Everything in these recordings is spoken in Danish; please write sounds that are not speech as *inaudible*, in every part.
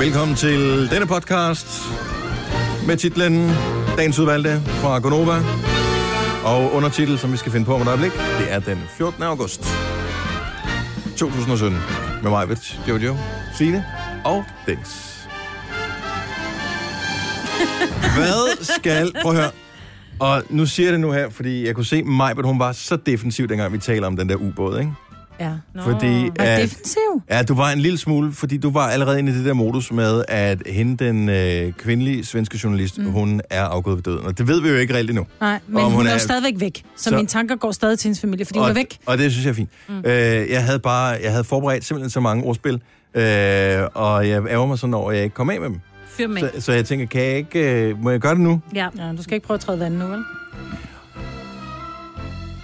Velkommen til denne podcast med titlen Dagens udvalgte fra Gonova. Og undertitel, som vi skal finde på om et øjeblik, det er den 14. august 2017. Med mig, Vits, Jojo, Signe og Dennis. Hvad skal... Prøv at høre. Og nu siger jeg det nu her, fordi jeg kunne se mig, at hun var så defensiv, dengang vi taler om den der ubåd, ikke? Ja. Nå. Fordi, Var at- defensiv. Ja, du var en lille smule, fordi du var allerede inde i det der modus med, at hende, den øh, kvindelige svenske journalist, mm. hun er afgået ved døden. Og det ved vi jo ikke rigtigt nu. Nej, men Om hun, hun hun er er- jo stadigvæk væk. Så, Så- så mine tanker går stadig til hendes familie, fordi hun og, er væk. Og det synes jeg er fint. Mm. Øh, jeg havde bare, jeg havde forberedt simpelthen så mange ordspil, øh, og jeg ærger mig sådan over, at jeg ikke kom af med dem. Fyr med. Så, så jeg tænker, kan jeg ikke, øh, må jeg gøre det nu? Ja, Ja, du skal ikke prøve at træde vandet nu, vel?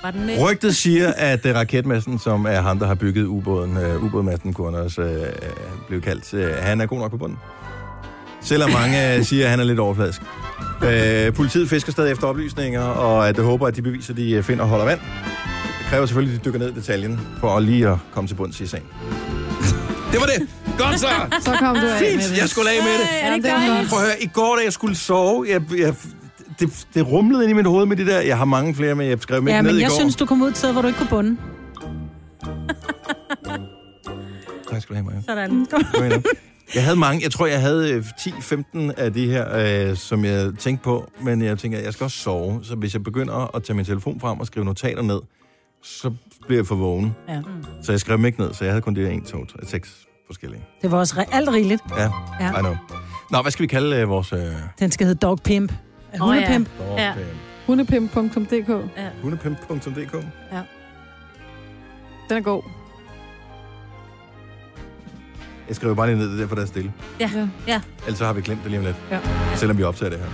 var den med? Rygtet siger, at uh, raketmassen, som er ham, der har bygget ubåden, uh, ubådmassen kunne også uh, blive kaldt, uh, han er god nok på bunden. Selvom mange uh, siger, at han er lidt overfladisk. Uh, politiet fisker stadig efter oplysninger, og at det håber, at de beviser, de øh, finder, holder vand. Det kræver selvfølgelig, at de dykker ned i detaljen, for lige at komme til bunds i sagen. Det var det. Godt så. *laughs* Så kom du af med Fint. Jeg skulle af med det. er det godt? Prøv at høre, i går, da jeg skulle sove, jeg, jeg, det, det rumlede ind i mit hoved med det der. Jeg har mange flere, men jeg skrev med Ja, ned men i jeg går. synes, du kom ud et sted, hvor du ikke kunne bunde. Tak skal du have, Maja. Sådan. Mm. Kom ind. Jeg havde mange, jeg tror, jeg havde øh, 10-15 af de her, øh, som jeg tænkte på, men jeg tænker, jeg skal også sove, så hvis jeg begynder at tage min telefon frem og skrive notater ned, så bliver jeg for vågen. Ja. Så jeg skrev dem ikke ned, så jeg havde kun det her 1, 2, 3, 6 forskellige. Det var også re- alt rigeligt. Ja, Ja. ja. I know. Nå, hvad skal vi kalde øh, vores... Øh, Den skal hedde Dog Pimp. Er Åh, hun ja. pimp? vores Ja. øh, Hundepimp.dk. hundepimp.dk? Den er god. Jeg skriver bare lige ned det der, for der er stille. Ja, ja. Ellers så har vi glemt det lige om lidt. Ja. Selvom vi optager *laughs* det her.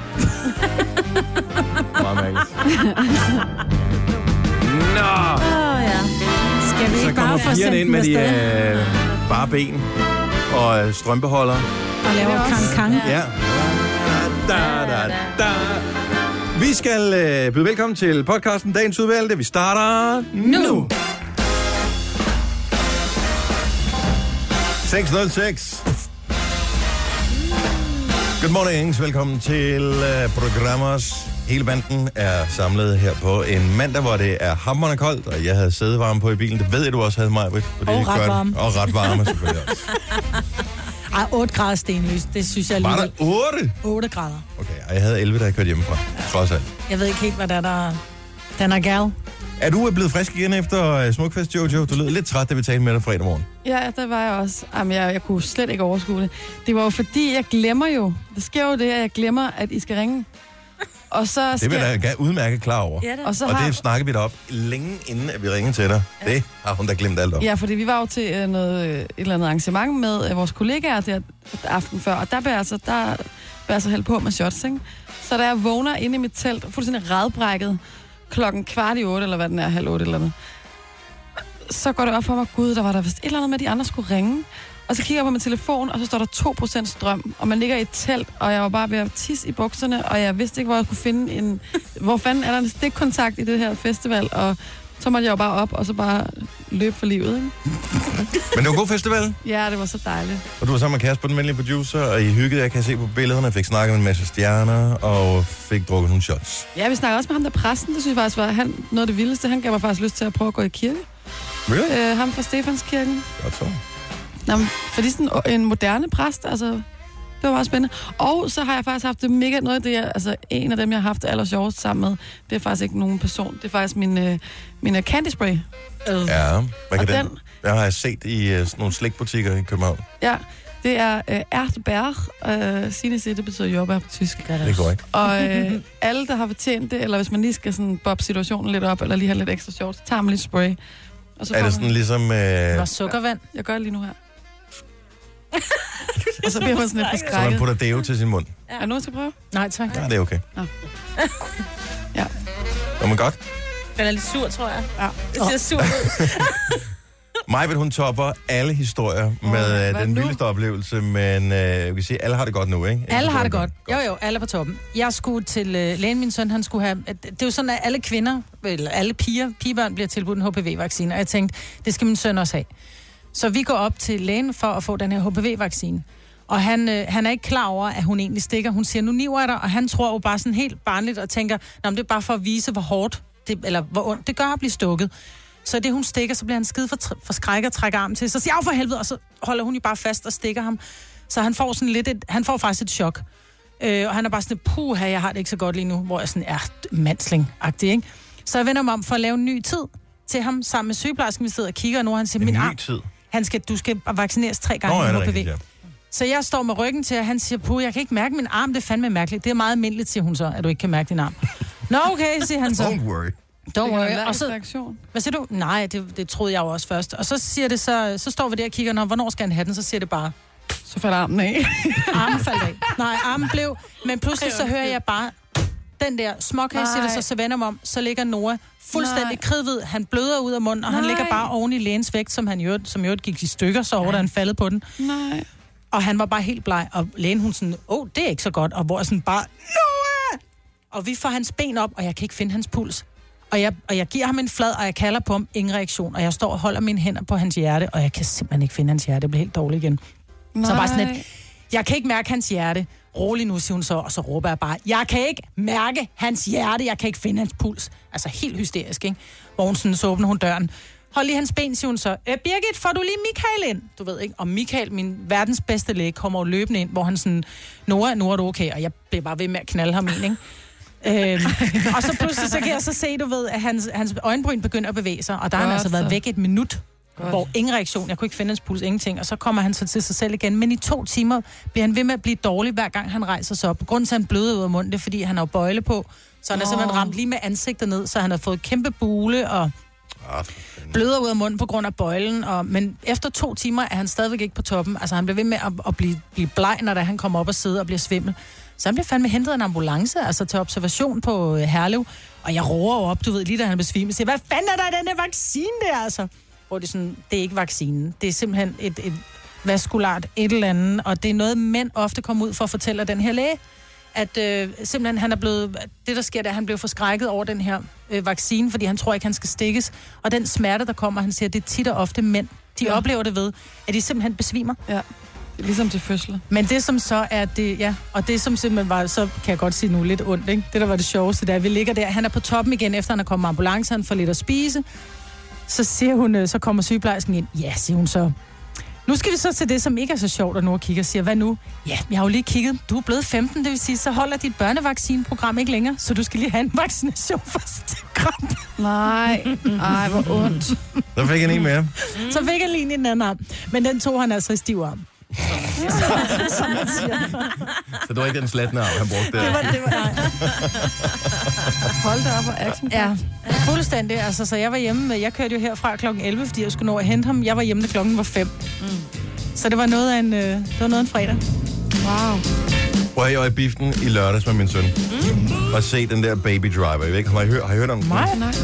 Meget mærkeligt. Nå! Åh, ja. Skal vi Så ikke bare kommer få pigerne sendt ind med den de afsted? øh, bare ben og øh, strømpeholder. Og laver Det er kang også- kang. Ja. Da, da, da, da. Vi skal øh, byde velkommen til podcasten Dagens Udvalgte. Vi starter nu. 606. Good morning, velkommen til øh, programmers. Hele banden er samlet her på en mandag, hvor det er hammerende koldt, og jeg havde sædevarme på i bilen. Det ved jeg, du også havde mig, Britt. fordi Og det ret gør det. varme. Og ret varme, selvfølgelig *laughs* også. Ej, 8 grader stenlys. Det synes jeg Var der alligevel. 8? 8 grader. Okay, og jeg havde 11, da jeg kørte hjemmefra, trods alt. Jeg ved ikke helt, hvad der er, der... Den er gal. Er du øh, blevet frisk igen efter øh, Smukfest, Jojo? Du lød lidt træt, da vi talte med dig fredag morgen. Ja, der var jeg også. Jamen, jeg, jeg kunne slet ikke overskue det. Det var jo fordi, jeg glemmer jo. Der sker jo det, at jeg glemmer, at I skal ringe. Og så Det skal... vil jeg da ga- udmærket klar over. Ja, da. og så Og har... det snakkede vi da op længe inden, at vi ringede til dig. Det har hun da glemt alt om. Ja, fordi vi var jo til øh, noget, øh, et eller andet arrangement med øh, vores kollegaer der aften før, og der blev jeg altså, der blev jeg altså hældt på med shots, ikke? Så da jeg vågner inde i mit telt, fuldstændig radbrækket, klokken kvart i otte, eller hvad den er, halv otte eller noget, så går det op for mig, gud, der var der vist et eller andet med, at de andre skulle ringe. Og så kigger jeg på min telefon, og så står der 2% strøm, og man ligger i et telt, og jeg var bare ved at tisse i bukserne, og jeg vidste ikke, hvor jeg kunne finde en... Hvor fanden er der en stikkontakt i det her festival, og så måtte jeg jo bare op, og så bare løbe for livet, ikke? Men det var en god festival, Ja, det var så dejligt. og du var sammen med Kasper, den venlige producer, og I hyggede jeg kan jeg se på billederne, fik snakket med en masse stjerner, og fik drukket nogle shots. Ja, vi snakker også med ham der præsten, det synes jeg faktisk var han, noget af det vildeste. Han gav mig faktisk lyst til at prøve at gå i kirke. Really? Øh, ham fra Stefanskirken. Godt så. Nå, men fordi sådan en moderne præst, altså, det var meget spændende. Og så har jeg faktisk haft det mega noget af det, jeg, altså en af dem, jeg har haft det aller sjovest sammen med, det er faktisk ikke nogen person, det er faktisk min, øh, min øh, candy spray. Øh. Ja, hvad Og kan den? den, den? har jeg set i uh, nogle slikbutikker i København. ja, det er øh, Erdbeer, øh, Sinese, det betyder jordbær på tysk. Det er korrekt. Og øh, alle, der har fortjent det, eller hvis man lige skal sådan bob situationen lidt op, eller lige have lidt ekstra sjovt, så tager man lidt spray. Og så Er får man- det sådan ligesom... Øh, Og sukkervand. Jeg gør det lige nu her. *laughs* og så bliver man sådan lidt så man forskrækket. putter deo til sin mund? Er der nogen, der skal prøve? Nej, tak. Nej, det er okay. *laughs* Nå. Ja. Nå, men godt. Den er lidt sur, tror jeg. Ja. Det ser sur ud. Majbet, hun topper alle historier oh, med øh, hvad den nu? vildeste oplevelse, men øh, vi kan sige, alle har det godt nu, ikke? Alle har det godt. Jo, jo, alle er på toppen. Jeg skulle til øh, lægen, min søn, han skulle have... At, det er jo sådan, at alle kvinder, eller alle piger, pigebørn bliver tilbudt en HPV-vaccine, og jeg tænkte, det skal min søn også have. Så vi går op til lægen for at få den her HPV-vaccine. Og han, øh, han er ikke klar over, at hun egentlig stikker. Hun siger, nu niver jeg dig, og han tror jo bare sådan helt barnligt og tænker, Nå, men det er bare for at vise, hvor hårdt, det, eller hvor ondt det gør at blive stukket. Så det, hun stikker, så bliver han skide for, for skræk og trækker armen til. Så siger jeg for helvede, og så holder hun jo bare fast og stikker ham. Så han får, sådan lidt et, han får faktisk et chok. Øh, og han er bare sådan, puh, jeg har det ikke så godt lige nu, hvor jeg sådan er mansling-agtig, ikke? Så jeg vender mig om for at lave en ny tid til ham sammen med sygeplejersken, vi sidder og kigger, og nu har han siger, En min ny arm, tid. han skal, du skal vaccineres tre Nå, gange ja, det med er HPV. rigtigt, ja. Så jeg står med ryggen til, og han siger, puh, jeg kan ikke mærke min arm, det er fandme mærkeligt. Det er meget almindeligt, siger hun så, at du ikke kan mærke din arm. Nå, okay, siger han så. Don't worry. Don't worry. Og Og så, reaktion. hvad siger du? Nej, det, det troede jeg jo også først. Og så siger det så, så står vi der og kigger, når, hvornår skal han have den? Så siger det bare, Så falder armen af. armen faldt *laughs* af. Nej, armen blev, men pludselig så hører jeg bare, den der småkage, siger det så, Nej. så vender jeg mig om, så ligger Nora fuldstændig Nej. kridvid. Han bløder ud af munden, og han Nej. ligger bare oven i lægens vægt, som han i øvrigt, som i øvrigt gik i stykker, så over, da han faldet på den. Nej. Og han var bare helt bleg, og lægen hun sådan, åh, det er ikke så godt, og hvor jeg sådan bare, Noah! Og vi får hans ben op, og jeg kan ikke finde hans puls. Og jeg, og jeg giver ham en flad, og jeg kalder på ham, ingen reaktion, og jeg står og holder mine hænder på hans hjerte, og jeg kan simpelthen ikke finde hans hjerte, jeg bliver helt dårlig igen. Nej. Så bare sådan lidt, jeg kan ikke mærke hans hjerte. Rolig nu, siger hun så, og så råber jeg bare, jeg kan ikke mærke hans hjerte, jeg kan ikke finde hans puls. Altså helt hysterisk, ikke? Hvor hun sådan, så åbner hun døren. Hold lige hans ben, siger hun så. Øh, Birgit, får du lige Michael ind? Du ved ikke, og Michael, min verdens bedste læge, kommer jo løbende ind, hvor han sådan, Nora, nu er du okay, og jeg bliver bare ved med at knalde ham ind, ikke? øhm, og så pludselig så kan jeg så se, du ved, at hans, hans øjenbryn begynder at bevæge sig, og der har han Godt altså været så. væk et minut, Godt. hvor ingen reaktion, jeg kunne ikke finde hans puls, ingenting, og så kommer han så til sig selv igen, men i to timer bliver han ved med at blive dårlig, hver gang han rejser sig op. Grunden til, at han bløder ud af munden, det er, fordi han har jo bøjle på, så han er Nå. simpelthen ramt lige med ansigtet ned, så han har fået kæmpe bule og Ah, for fanden. bløder ud af munden på grund af bøjlen, og, men efter to timer er han stadigvæk ikke på toppen. Altså, han bliver ved med at, at blive, blive bleg, når da han kommer op og sidder og bliver svimmel. Så han bliver fandme hentet af en ambulance, altså til observation på øh, Herlev. Og jeg roer jo op, du ved, lige da han besvimer, siger, hvad fanden er der i den der vaccine der, altså? Hvor det er sådan, det er ikke vaccinen. Det er simpelthen et, et vaskulart et eller andet, og det er noget, mænd ofte kommer ud for at fortælle af den her læge, at øh, simpelthen han er blevet, det der sker, det er, at han blev forskrækket over den her øh, vaccine, fordi han tror ikke, han skal stikkes. Og den smerte, der kommer, han siger, det er tit og ofte mænd. De ja. Ja. oplever det ved, at de simpelthen besvimer. Det er Ligesom til fødsler. Men det som så er det, ja, og det som simpelthen var, så kan jeg godt sige nu lidt ondt, ikke? Det der var det sjoveste, der vi ligger der, han er på toppen igen, efter han er kommet med ambulancen, han får lidt at spise. Så siger hun, øh, så kommer sygeplejersken ind, ja, siger hun så. Nu skal vi så til det, som ikke er så sjovt, og nu kigger og siger, hvad nu? Ja, jeg har jo lige kigget, du er blevet 15, det vil sige, så holder dit børnevaccineprogram ikke længere, så du skal lige have en vaccination *laughs* for stikkramperne. Nej. Ej, hvor ondt. Der fik jeg en mere. Mm. Så fik han lige en i den anden arm. Men den tog han altså i stiv arm. *laughs* Som man siger. Så det var ikke den slattende arm, han brugte. Det der. var, det var, Hold da op og action. ja. Fuldstændig. Altså, så jeg var hjemme. med- Jeg kørte jo herfra kl. 11, fordi jeg skulle nå at hente ham. Jeg var hjemme, da klokken var 5. Mm. Så det var noget af en, øh, det var noget af en fredag. Wow. Prøv at jeg var i biften i lørdags med min søn. Mm. Og se den der Baby Driver. Jeg ved ikke, har I hørt, har I hørt om den? Nej. Nej.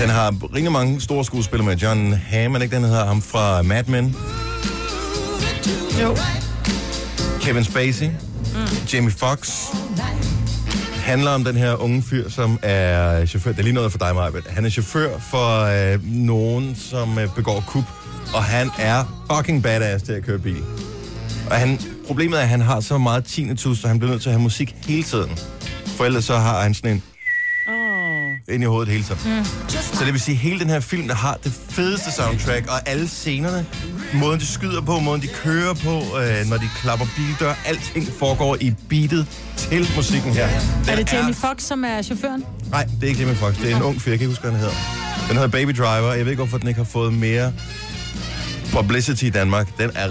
Den har rigtig mange store skuespillere med. John Hamm, er det ikke den, der hedder ham fra Mad Men? Jo. Kevin Spacey, mm. Jamie Foxx. Handler om den her unge fyr, som er chauffør. Det er lige noget for dig, Marbet. Han er chauffør for øh, nogen, som øh, begår kub. Og han er fucking badass til at køre bil. Og han, problemet er, at han har så meget tinnitus, så han bliver nødt til at have musik hele tiden. For ellers så har han sådan en ind i hovedet hele tiden. Mm. Så det vil sige, at hele den her film, der har det fedeste soundtrack, og alle scenerne, måden de skyder på, måden de kører på, øh, når de klapper bildør, alting foregår i beatet til musikken her. Den Er det Jamie Foxx, som er chaufføren? Nej, det er ikke Jamie Foxx. Det er en ung fyr, jeg kan ikke huske, hvad han hedder. Den hedder Baby Driver. Jeg ved ikke, hvorfor den ikke har fået mere publicity i Danmark. Den er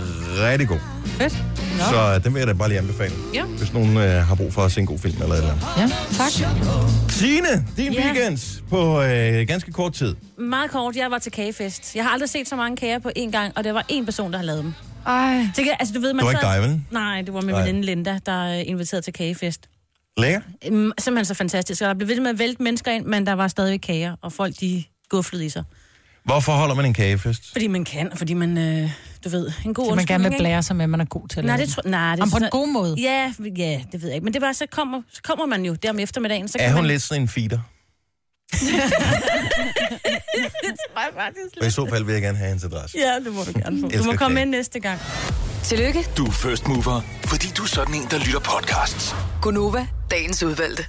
rigtig god. Fedt. Nå. Så øh, den vil jeg da bare lige anbefale, Ja. hvis nogen øh, har brug for at se en god film eller et eller andet. Ja, tak. Signe, din Ja. weekend på øh, ganske kort tid. Meget kort, jeg var til kagefest. Jeg har aldrig set så mange kager på én gang, og det var én person, der havde lavet dem. Ej. Så jeg- altså, du ved, man Det var ikke dig, sad- vel? Nej, det var min Nej. veninde Linda, der øh, inviterede til kagefest. Lækker. Øhm, simpelthen så fantastisk. Og der blev ved med at vælte mennesker ind, men der var stadigvæk kager, og folk de gufflede i sig. Hvorfor holder man en kagefest? Fordi man kan, og fordi man, øh, du ved, en god Så man gerne vil ikke? blære sig med, at man er god til at Nej, lave det tror nej, det den. Jamen, på sådan- en god måde. Ja, ja, det ved jeg ikke. Men det var, så kommer, så kommer man jo der om eftermiddagen. Så Er kan hun man... lidt sådan en feeder? Nej, faktisk. Og i så fald vil jeg gerne have hendes adresse. Ja, det må du gerne få. Du Elsker må komme kage. med næste gang. Tillykke, Du er first mover, fordi du er sådan en, der lytter podcasts. Gunova, dagens udvalgte.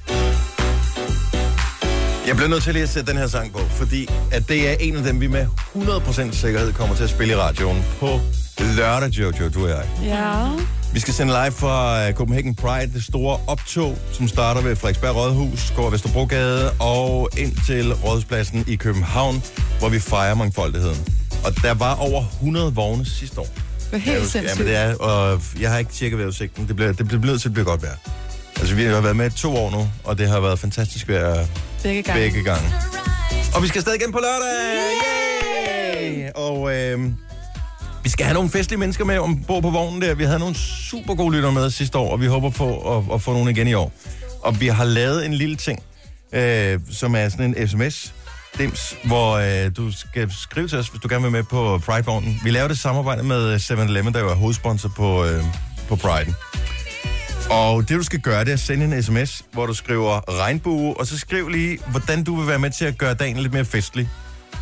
Jeg bliver nødt til lige at sætte den her sang på, fordi at det er en af dem, vi med 100% sikkerhed kommer til at spille i radioen på lørdag, Jojo, du og jeg. Ja. Vi skal sende live fra øh, Copenhagen Pride, det store optog, som starter ved Frederiksberg Rådhus, går ad Vesterbrogade og ind til Rådhuspladsen i København, hvor vi fejrer mangfoldigheden. Og der var over 100 vogne sidste år. Det var Ja, helt ja, sindssygt. men det er, og jeg har ikke tjekket vejrudsigten. Det bliver, det bliver nødt til at blive godt vejr. Altså, vi har været med i to år nu, og det har været fantastisk vejr Begge gange. begge gange. Og vi skal stadig igen på lørdag! Yay! Og øh, vi skal have nogle festlige mennesker med ombord på vognen der. Vi havde nogle super gode lytter med sidste år, og vi håber på at, at få nogle igen i år. Og vi har lavet en lille ting, øh, som er sådan en sms dims, hvor øh, du skal skrive til os, hvis du gerne vil med på Pride-vognen. Vi laver det i samarbejde med øh, 7-Eleven, der jo er hovedsponsor på, øh, på Pride. Og det, du skal gøre, det er at sende en sms, hvor du skriver regnbue, og så skriv lige, hvordan du vil være med til at gøre dagen lidt mere festlig.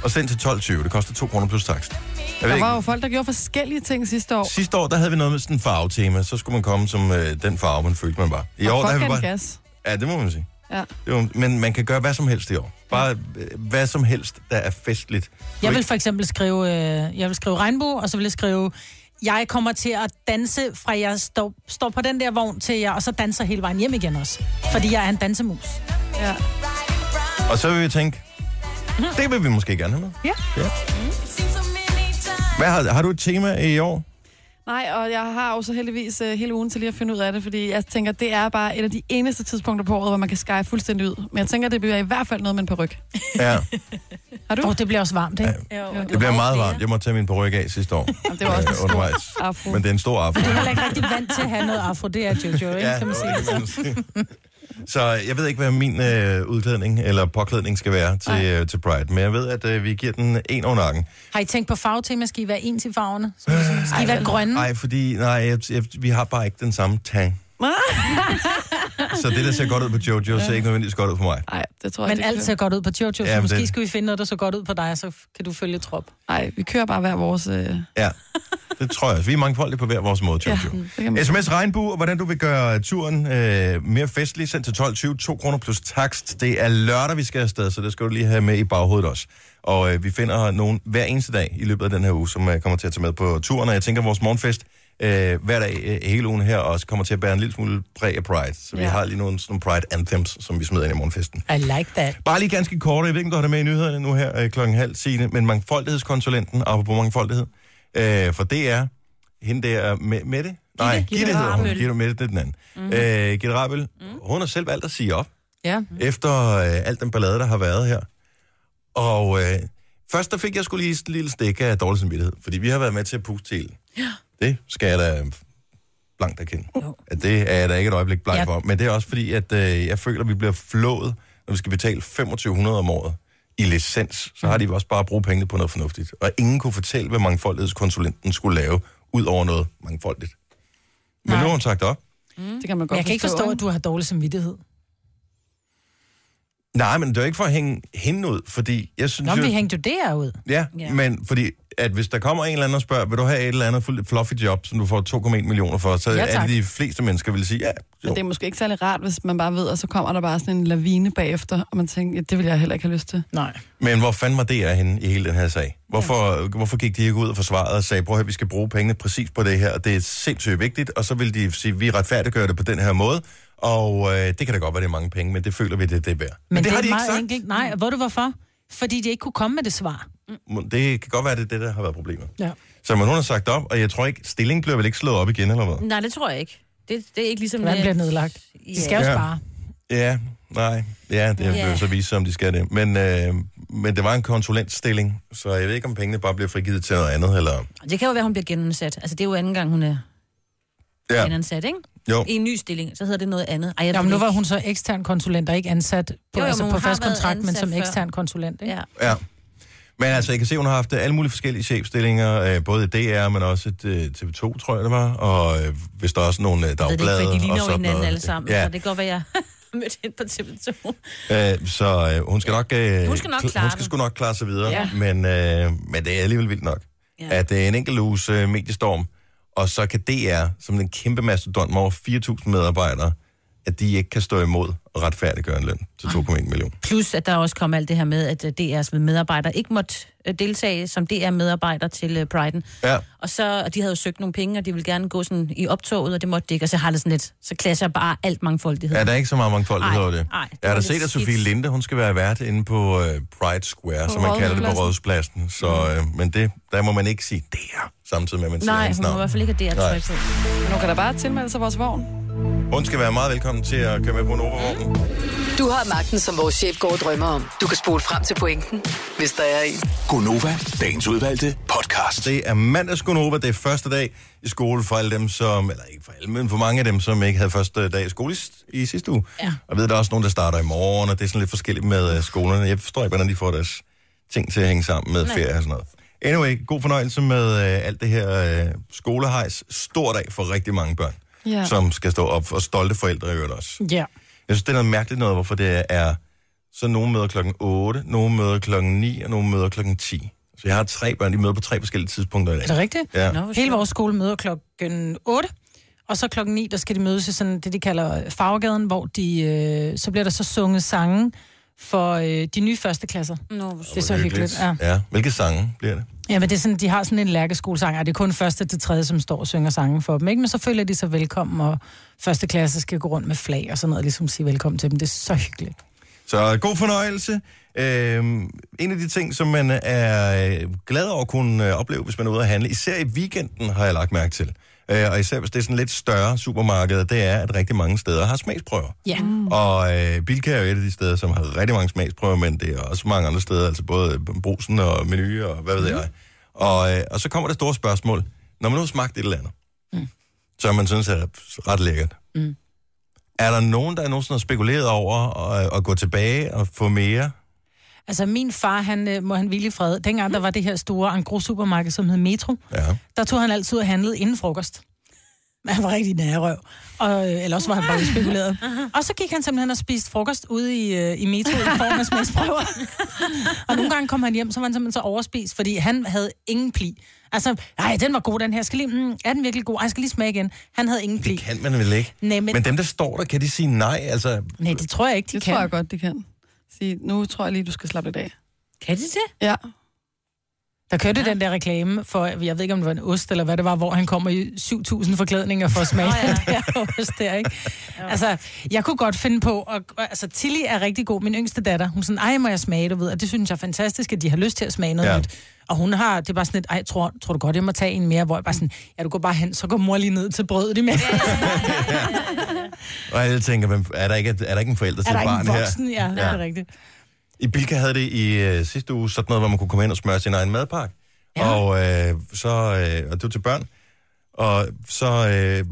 Og send til 12.20. Det koster 2 kroner plus takst. Jeg ved Der var jo ikke, folk, der gjorde forskellige ting sidste år. sidste år, der havde vi noget med sådan en farvetema. Så skulle man komme som øh, den farve, man følte, man var. I og år, der folk har vi gav den bare... gas. Ja, det må man sige. Ja. Det var, men man kan gøre hvad som helst i år. Bare øh, hvad som helst, der er festligt. Jeg vil for eksempel skrive, øh, jeg vil skrive regnbue, og så vil jeg skrive, jeg kommer til at danse fra jeg står, står på den der vogn til jeg, og så danser hele vejen hjem igen også. Fordi jeg er en dansemus. ja. Og så vil vi tænke, det vil vi måske gerne have med. Ja. ja. Hvad har, har du et tema i år? Nej, og jeg har jo så heldigvis uh, hele ugen til lige at finde ud af det, fordi jeg tænker, det er bare et af de eneste tidspunkter på året, hvor man kan skære fuldstændig ud. Men jeg tænker, det bliver i hvert fald noget med en peruk. Ja. Har du? Åh, oh, det bliver også varmt, ikke? Jo, og Det bliver var meget flere. varmt. Jeg må tage min peruk af sidste år. Jamen, *laughs* det var også en øh, stor undervejs. afro. Men det er en stor aften. Jeg er heller ikke rigtig vant til at have noget afro. Det er Jojo, ikke? kan man sige. *laughs* Så jeg ved ikke, hvad min øh, udklædning eller påklædning skal være til, øh, til Pride, men jeg ved, at øh, vi giver den en under nakken. Mm. Har I tænkt på farvetema? Skal I være en til farverne? Så ligesom, Skal I være grønne? Nej, fordi nej, jeg, jeg, vi har bare ikke den samme tang. så det, der ser godt ud på Jojo, ser ikke nødvendigvis godt ud på mig. Nej, det tror jeg Men altså- det alt ser godt ud på Jojo, Ja, så men måske det- skulle vi finde noget, der så godt ud på dig, og så kan du følge trop. Nej, vi kører bare hver vores... Øh... Ja, det tror jeg også. Vi er mangfoldige på hver vores måde, Jojo. det kan Ja. man- SMS Regnbue, og hvordan du vil gøre turen øh, mere festlig, sendt til 12.20, 2 kroner plus takst. Det er lørdag, vi skal afsted, så det skal du lige have med i baghovedet også. Og øh, vi finder nogen hver eneste dag i løbet af den her uge, som øh, kommer til at tage med på turen. Og jeg tænker, at vores morgenfest øh, hver dag øh, hele ugen her også kommer til at bære en lille smule præg af Pride. Så vi Ja. har lige nogle, sådan nogle Pride anthems, som vi smider ind i morgenfesten. I like that. Bare lige ganske kort, og jeg ved ikke, om du har det med i nyhederne nu her øh, klokken halv sine, men mangfoldighedskonsulenten, apropos mangfoldighed, øh, for det er hende der, med, Mette? Nej, Gitte Gitte hedder hun. Rabøl. Mhm. Gitte Mette, det er den anden. Mm-hmm. Øh, Gitte Rabel, mm-hmm. hun har selv valgt at sige op, Ja. Mm. efter øh, alt den ballade, der har været her. Og øh, først der fik jeg skulle lige et lille stik af dårlig samvittighed, fordi vi har været med til at puste til. Ja. Det skal jeg da blankt erkende. At det er jeg da ikke et øjeblik blank Ja. for. Men det er også fordi, at øh, jeg føler, at vi bliver flået, når vi skal betale 2500 om året i licens. Så har de jo også bare brugt pengene på noget fornuftigt. Og ingen kunne fortælle, hvad mangfoldighedskonsulenten skulle lave, ud over noget mangfoldigt. Men Nej. nu har hun sagt op. Det kan man godt Men jeg kan ikke forstå, at ikke? du har dårlig samvittighed. Nej, men det er jo ikke for at hænge hende ud, fordi jeg synes Nå, jo... men vi hængte jo det her ud. Ja, Ja. men fordi at hvis der kommer en eller anden og spørger, vil du have et eller andet fuldt fluffy job, som du får 2,1 millioner for, så Ja, ja, er tak. det de fleste mennesker vil sige, ja, jo. Men det er måske ikke særlig rart, hvis man bare ved, og så kommer der bare sådan en lavine bagefter, og man tænker, ja, det vil jeg heller ikke have lyst til. Nej. Men hvor fanden var det af hende i hele den her sag? Hvorfor, ja. hvorfor gik de ikke ud og forsvarede og sagde, prøv at høre, vi skal bruge pengene præcis på det her, og det er sindssygt vigtigt, og så vil de sige, vi retfærdiggør det på den her måde, og øh, det kan da godt være, det er mange penge, men det føler vi, det, det er værd. Men, men det, det har er de ikke meget sagt. Enkelt. Nej, og ved du hvorfor? Fordi de ikke kunne komme med det svar. Enkelt. Det kan godt være, det er det, der har været problemet. Ja. Så men hun har sagt op, og jeg tror ikke, stillingen bliver vel ikke slået op igen, eller hvad? Nej, det tror jeg ikke. Det, det er ikke ligesom... Hvordan øh, bliver det nedlagt? De skal jo Ja. spare. Ja, nej. Ja, det vil Ja. jo så vise sig, om de skal det. Men, øh, men det var en konsulentstilling, så jeg ved ikke, om pengene bare bliver frigivet til noget andet. Eller... Det kan jo være, hun bliver genansat. Altså, det er jo anden gang, hun er ja. Ja, genansat, ikke? jo. I en ny stilling, så hedder det noget andet. Ej, jeg Nå, ved men nu ikke. var hun så ekstern konsulent og ikke ansat Jo, jo, på, jo, altså men på hun har fast været kontrakt, men ansat som før. ekstern konsulent. Ikke? Ja. Ja. Men altså, jeg kan se, at hun har haft alle mulige forskellige chefstillinger, øh, både i DR, men også et, øh, TV2, tror jeg det var, og øh, hvis der er også nogle øh, Jeg ved det dagblade ikke, for de ligner og jo sådan hinanden noget. alle sammen. Ja. Ja, Så det kan godt være, jeg *laughs* mødte hende på TV2. øh, så øh, hun skal nok... Øh, Hun skal nok kl- klare hun skal den. sgu nok klare sig videre, ja. Ja. men, øh, men det er alligevel vildt nok, ja. Ja. at øh, en enkelt uges øh, mediestorm, Og så kan DR, som den kæmpe mastodont med over 4.000 medarbejdere, at de ikke kan stå imod og retfærdiggøre en løn til 2,1 millioner. Plus, at der også kom alt det her med, at øh, DR's medarbejdere ikke måtte øh, deltage som DR-medarbejder til øh, Pride'en. Ja. Og så, og de havde jo søgt nogle penge, og de ville gerne gå sådan i optoget, og det måtte de ikke, og så har det sådan lidt, så klasser bare alt mangfoldighed. Ja, der er ikke så meget mangfoldighed Ej, over det. ej, det jeg har da var lidt set, at Sofie skidt. Linde, hun skal være vært inde på øh, Pride Square, på som man kalder det på Rådhuspladsen. Så, øh, men det, der må man ikke sige DR, samtidig med, at man siger Mm. Nej, hendes hun må i navn. hvert fald ikke have Nej. DR-tøj på. Men hun kan da bare tilmelde sig vores vogn. Hun skal være meget velkommen til at køre med på en overvågning. Du har magten, som vores chef går og drømmer om. Du kan spole frem til pointen, hvis der er en. Gonova, dagens udvalgte podcast. Det er mandagskonova, det er første dag i skole for alle dem, som, eller ikke for alle, men for mange af dem, som ikke havde første dag i skole i, i sidste uge. Ja. Og jeg ved, der er også nogen, der starter i morgen, og det er sådan lidt forskelligt med øh, skolerne. Jeg forstår ikke, hvordan de får deres ting til at hænge sammen med ferie og sådan noget. Anyway, god fornøjelse med øh, alt det her øh, skolehejs. Stor dag for rigtig mange børn, Ja. som skal stå op, og stolte forældre i øvrigt også. Ja. Jeg synes, det er noget mærkeligt noget, hvorfor det er, så nogen møder klokken 8, nogen møder klokken 9, og nogen møder klokken 10. Så jeg har tre børn, de møder på tre forskellige tidspunkter i dag. Er det rigtigt? Ja. Nå, hvor Hele sjovt. vores skole møder klokken 8, og så klokken 9, der skal de mødes i sådan det, de kalder farvegaden, hvor de, øh, så bliver der så sunget sange for øh, de nye første klasser. Nå, hvor Det er så hyggeligt. Ja. Ja. Hvilke sange bliver det? ja, men det er sådan, de har sådan en lærkeskolesang, og det er kun første til tredje, som står og synger sange for dem, ikke? Men så føler de sig velkommen, og første klasse skal gå rundt med flag og sådan noget, og ligesom sige velkommen til dem. Det er så hyggeligt. Så god fornøjelse. Øhm, en af de ting, som man er øh, glad over at kunne øh, opleve, hvis man er ude at handle, især i weekenden har jeg lagt mærke til, øh, og især hvis det er sådan lidt større supermarkeder, det er, at rigtig mange steder har smagsprøver. Ja. Mm. Og øh, Bilka er jo et af de steder, som har rigtig mange smagsprøver, men det er også mange andre steder, altså både brusen og menu og hvad ved Mm. jeg. Og, øh, og så kommer det store spørgsmål. Når man nu har smagt et eller andet, mm. som man synes er ret lækkert, mm. er der nogen, der nogensinde har spekuleret over at, at gå tilbage og få mere? Altså, min far, han øh, må han hvile i fred. Dengang der var det her store Angro supermarked, som hed Metro, Ja. der tog han altid og handlede inden frokost. Men Han var rigtig nærrøv. Og, øh, eller også var han bare spekuleret. Og så gik han simpelthen og spiste frokost ude i, øh, i metro i form af smagsprøver. og nogle gange kom han hjem, så var han simpelthen så overspist, fordi han havde ingen pli. Altså, nej, den var god, den her. Jeg skal lige, mm, er den virkelig god? Ej, jeg skal lige smage igen. Han havde ingen pli. Det kan man vel ikke? Nej, men- men... men dem, der står der, kan de sige nej? Altså, Nej, det tror jeg ikke, de Det kan. tror jeg godt, de kan. Sige, nu tror jeg lige, du skal slappe lidt af. Kan de det? Ja. Der kørte ja. den der reklame for, jeg ved ikke om det var en ost eller hvad det var, hvor han kommer i 7.000 forklædninger for at smage oh, Nå ja. ja. den der *laughs* ost der, ikke? Altså, jeg kunne godt finde på, og, altså Tilly er rigtig god, min yngste datter, hun er sådan, ej må jeg smage, du ved, og det synes jeg er fantastisk, at de har lyst til at smage noget Ja. ja. nyt. Og hun har, det er bare sådan lidt, ej, tror, tror du godt, jeg må tage en mere, hvor jeg bare sådan, ja, du går bare hen, så går mor lige ned til brødet imens. Ja, og alle tænker, hvem- er der ikke, er der ikke en forælder til *laughs* er et der barn ikke en her? voksen? Ja, ja, det er rigtigt. I Bilka havde det i øh, sidste uge sådan noget, hvor man kunne komme ind og smøre sin egen madpakke. Ja. Og, øh, så, øh, og det var til børn. Og så øh,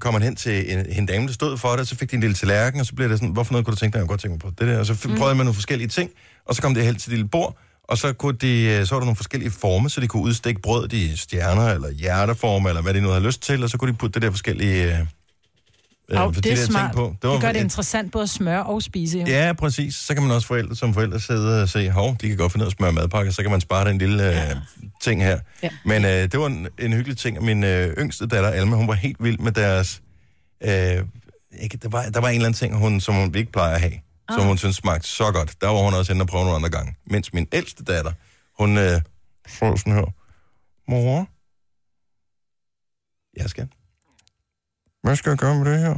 kom man hen til en, en dame, der stod for det, og så fik de en lille tallerken, og så blev det sådan, hvorfor noget kunne du tænke dig, jeg kunne godt tænke mig på det der. Og så Mm. f- prøvede man nogle forskellige ting, og så kom det hen til det lille bord, og så, kunne de, øh, så var der nogle forskellige former, så de kunne udstikke brød i stjerner, eller hjerteformer, eller hvad de nu havde lyst til, og så kunne de putte det der forskellige... Øh, øh, Og det, der det er ting smart. Det, det gør det et- interessant både at smøre og spise. jo. Ja, præcis. Så kan man også forældre, som forældre sidde og se, hov, de kan godt finde ud af at smøre madpakker, så kan man spare den lille ja. øh, ting her. Ja. Men øh, det var en, en hyggelig ting, og min øh, yngste datter, Alma, hun var helt vild med deres... Øh, ikke, der, var, der var en eller anden ting, hun, som hun ikke plejer at have, oh. som hun synes smagte så godt. Der var hun også inde og prøve nogle andre gange. Mens min ældste datter, hun øh, så sådan her, mor, jeg skal. Hvad skal jeg gøre med det her?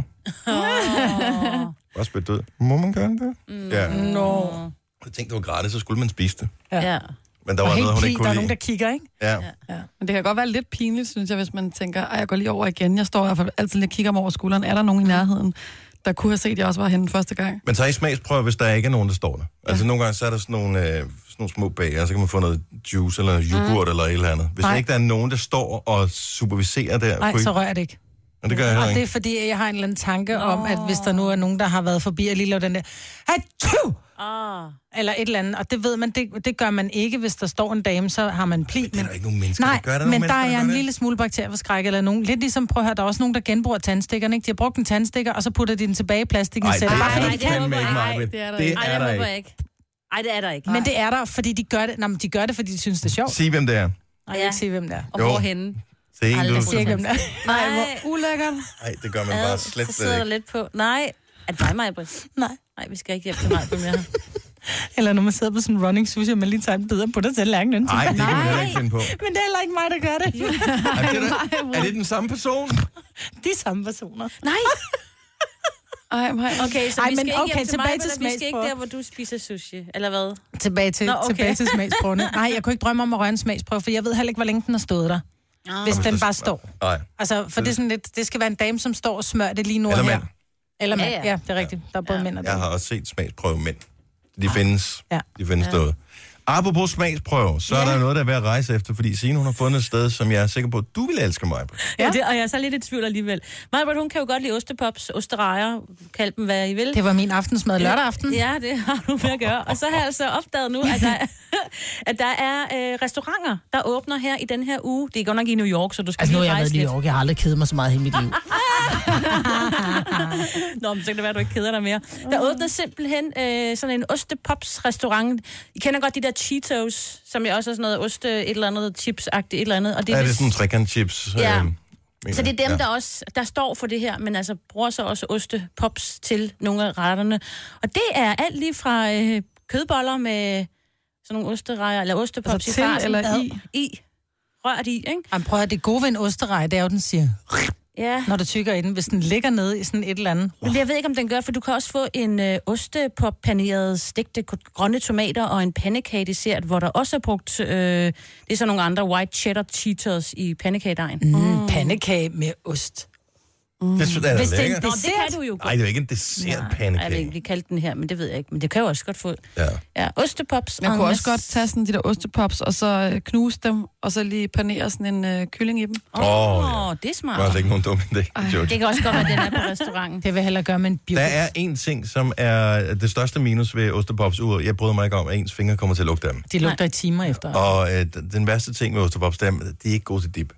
Bare spændt død. Må man gøre det? Ja. Nå. Jeg tænkte, det var gratis, så skulle man spise det. Mm. Ja. Men der Og var helt noget, hun pli, ikke der kunne er lide. nogen, der kigger, ikke? Ja. Men det kan godt være lidt pinligt, synes jeg, hvis man tænker, at jeg går lige over igen. Jeg står i hvert fald altid lige og kigger mig over skulderen. Er der nogen i nærheden, der kunne have set, at jeg også var henne første gang? Men tager I smagsprøver, hvis der ikke er nogen, der står der? Altså nogle gange, så er der sådan nogle, øh, sådan nogle små bager, så kan man få noget juice eller noget yoghurt mm. eller et eller andet. Hvis Nej. Nej. ikke der er nogen, der står og superviserer der, Nej, kunne I- så rører jeg det ikke. og det gør jeg Og heller det er ikke. fordi, at jeg har en eller anden tanke Nå. om, at hvis der nu er nogen, der har været forbi og lige lavet den der, Hachu! Ah. eller et eller andet, og det ved man, det, det gør man ikke, hvis der står en dame, så har man pli. Det er der ikke nogen mennesker, Nej, der gør det. men nogen der mennesker, er gør en det. lille smule bakterieforskræk eller nogen. Lidt ligesom, prøv at høre, der er også nogen, der genbruger tandstikkerne, ikke? De har brugt en tandstikker, og så putter de den tilbage i plastikken Ej, det selv. Bare er fordi der de det kan. fandme håber ikke, jeg. Maja. Det Ej, det er der er der Ej, det ikke. håber ikke. jeg ikke. Ej, det er der ikke. Men det er der, fordi de gør det, Nå, men de gør det, fordi de synes, det er sjovt. Sig, hvem det er. Og jeg vil ikke sige, hvem det er. Og Jo. hvorhenne? Det er en, Ej, jeg du... siger ikke, hvem det er. Nej, Ulækkert. Ej, det gør man ad, bare slet så sidder slet ikke. der lidt på. Nej, er det dig, Majbrit? Nej. Nej, vi skal ikke hjem til Majbrit mere. *laughs* Eller når man sidder på sådan en running sushi, og man lige tager en bidder på dig til lærken. Nej, det kan man heller ikke Nej. finde på. Men det er heller ikke mig, der gør *laughs* det. Er det, der, er det den samme person? De samme personer. Nej, Ej, hej. *laughs* okay, så Ej, vi men skal ikke okay, hjem til tilbage Majbrit, til og vi skal ikke smagsprøver. der, hvor du spiser sushi, eller hvad? Tilbage til, Nå, Nå, okay. okay. tilbage til *laughs* smagsprøvene. Nej, jeg kunne ikke drømme om at røre en smagsprøve, for jeg ved heller ikke, hvor længe den har stået der. Hvis den bare står. Nej. Altså, for det er sådan lidt, det skal være en dame, som står og smører det lige nu og Eller her. mand. Eller mand. Ja, Ja, ja. ja. ja, det er rigtigt. Der er både mænd og Jeg damer. har også set smagsprøve mænd. De Ah. findes. Ja. De findes ja. derude. Apropos smagsprøve, så er der noget, der er værd at rejse efter, fordi Signe, hun har fundet et sted, som jeg er sikker på, at du vil elske mig på. Ja. Det, og jeg er så lidt i tvivl alligevel. Majbrit, hun kan jo godt lide ostepops, osterejer, kald dem hvad I vil. Det var min aftensmad lørdag aften. Ja, det har du med at gøre. Og så har jeg altså opdaget nu, at der, at der er øh, restauranter, der åbner her i den her uge. Det er godt nok i New York, så du skal Altså, nu har lige jeg været rejse i New lidt. York. Jeg har aldrig kedet mig så meget i hele mit liv. Nå, men så kan det være, at du ikke keder dig mere. Mm. Der åbner simpelthen øh, sådan en ostepops-restaurant. I kender godt de der Cheetos, som jo også er sådan noget oste, et eller andet chips et eller andet. Og det Er det vist- sådan trekantchips? Ja. øh, mener Så det er dem, jeg. ja. der også der står for det her, men altså bruger så også ostepops til nogle af retterne. Og det er alt lige fra øh, kødboller med sådan nogle osterejer, eller ostepops Altså i til farsen. eller Ad. i? I. Rørt i, ikke? Jamen, prøv at høre, det gode ved en osterej, det er jo, den siger, Ja. når du tykker i den, hvis den ligger nede i sådan et eller andet. Men jeg ved ikke, om den gør, for du kan også få en øh, ostepop paneret stegte k- grønne tomater og en pandekagedessert, hvor der også er brugt, øh, det er så nogle andre white cheddar cheetos i pandekagedejen. Mm. Mm. Pandekage med ost. Det synes jeg, er Hvis det er en lækkert. Nå, det kan du jo Nej, godt. det er jo ikke en Nej, jeg vil ikke dessertpandekage. lige kalde den her, men det ved jeg ikke. Men det kan jeg jo også godt få. Ja. Ja, ostepops. Man og kunne en masse- også godt tage sådan de der ostepops, og så øh, knuse dem, og så lige panere sådan en øh, kylling i dem. Åh, Åh, oh, ja. det er Det smart. var altså ikke nogen dum idé. Jojo. Det kan også godt være, at den er på restauranten. Det vil jeg hellere gøre med en bio. Der er en ting, som er det største minus ved ostepops uret. Jeg bryder mig ikke om, at ens fingre kommer til at lugte af dem. De lugter i timer efter. Og øh, d- den værste ting med ostepops, det er, at de er ikke gode til dip.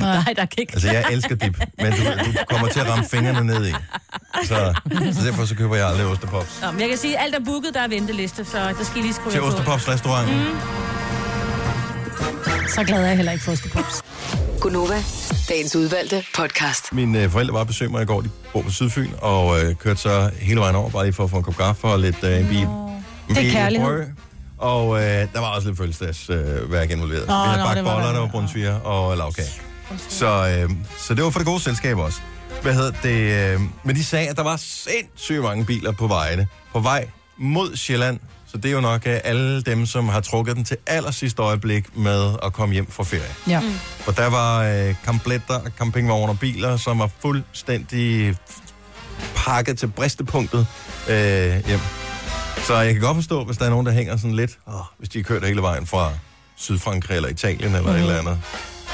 Nej, der kan ikke. Altså, jeg elsker dip, men du, du kommer til at ramme fingrene ned i. Så, så derfor så køber jeg aldrig ostepops. Nå, men jeg kan sige, at alt er booket, der er venteliste, så der skal I lige skrive Til jer på. Ostepops restaurant. Mm. Så glad er jeg heller ikke for ostepops. Gunova, dagens udvalgte podcast. Mine øh, forældre var og besøgte mig i går. De bor på Sydfyn og øh, kørte så hele vejen over, bare lige for at få en kop kaffe og lidt øh, en bil. Det er kærlighed. Og øh, der var også lidt fødselsdagsværk øh, værk involveret. Nå, vi havde nå, bagt det var boller, der. der var brunsviger og lavkage. Så, øh, så det var for det gode selskab også. Hvad hedder det? Øh, men de sagde, at der var sindssygt mange biler på vejene. På vej mod Sjælland. Så det er jo nok øh, alle dem, som har trukket den til allersidste øjeblik med at komme hjem fra ferie. Ja. For der var øh, kampletter og campingvogne og biler, som var fuldstændig pakket til bristepunktet øh, hjem. Så jeg kan godt forstå, hvis der er nogen, der hænger sådan lidt, åh, hvis de har kørt hele vejen fra Sydfrankrig eller Italien eller mm. et eller andet,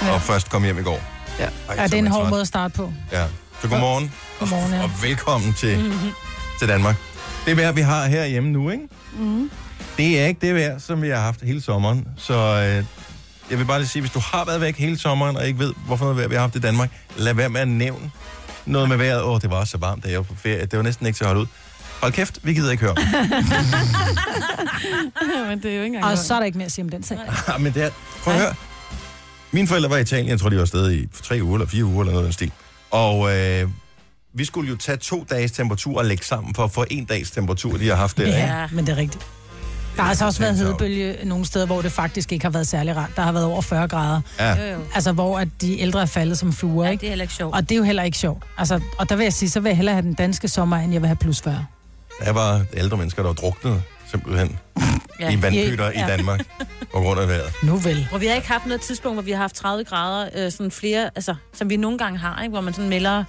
ja. og først kom hjem i går. Ja. Ej, Mhm. så Ja, det er en man hård træt. måde at starte på. Ja. Så godmorgen, Godmorgen, ja. Mhm. og velkommen til, til Danmark. Det vejr, vi har herhjemme nu, ikke? Mm. Mhm. Det er ikke det vejr, som vi har haft hele sommeren. Så øh, jeg vil bare lige sige, hvis du har været væk hele sommeren, og ikke ved, hvorfor noget vejr vi har haft i Danmark, lad være med at nævne noget med vejret. Åh, det var også så varmt, da jeg var på ferie. Det var næsten ikke til at holde ud. Hold kæft, vi gider ikke høre. om det. Men det er jo ikke engang Og så er der ikke mere at sige om den sag. Ah, men det er... Prøv at høre. Mine forældre var i Italien, jeg tror, de var afsted i tre uger eller fire uger eller noget af den stil. Og øh, vi skulle jo tage to dages temperatur og lægge sammen for at få en dags temperatur, de har haft der. Ikke? Ja, men det er rigtigt. Der har altså også været tænkt over. hedebølge nogle steder, hvor det faktisk ikke har været særlig rart. Der har været over 40 grader. Ja. Jo, jo. Altså, hvor at de ældre er faldet som fluer, Ja, ikke? det er heller ikke sjovt. Og det er jo heller ikke sjovt. Altså, og der vil jeg sige, så vil jeg hellere have den danske sommer, end jeg vil have plus 40. Der var ældre mennesker, der var druknet simpelthen ja. i vandpytter ja. Ja. i Danmark på grund af vejret. Nu vel. Hvor vi har ikke haft noget tidspunkt, hvor vi har haft 30 grader, øh, sådan flere, altså, som vi nogle gange har, ikke? hvor man sådan melder,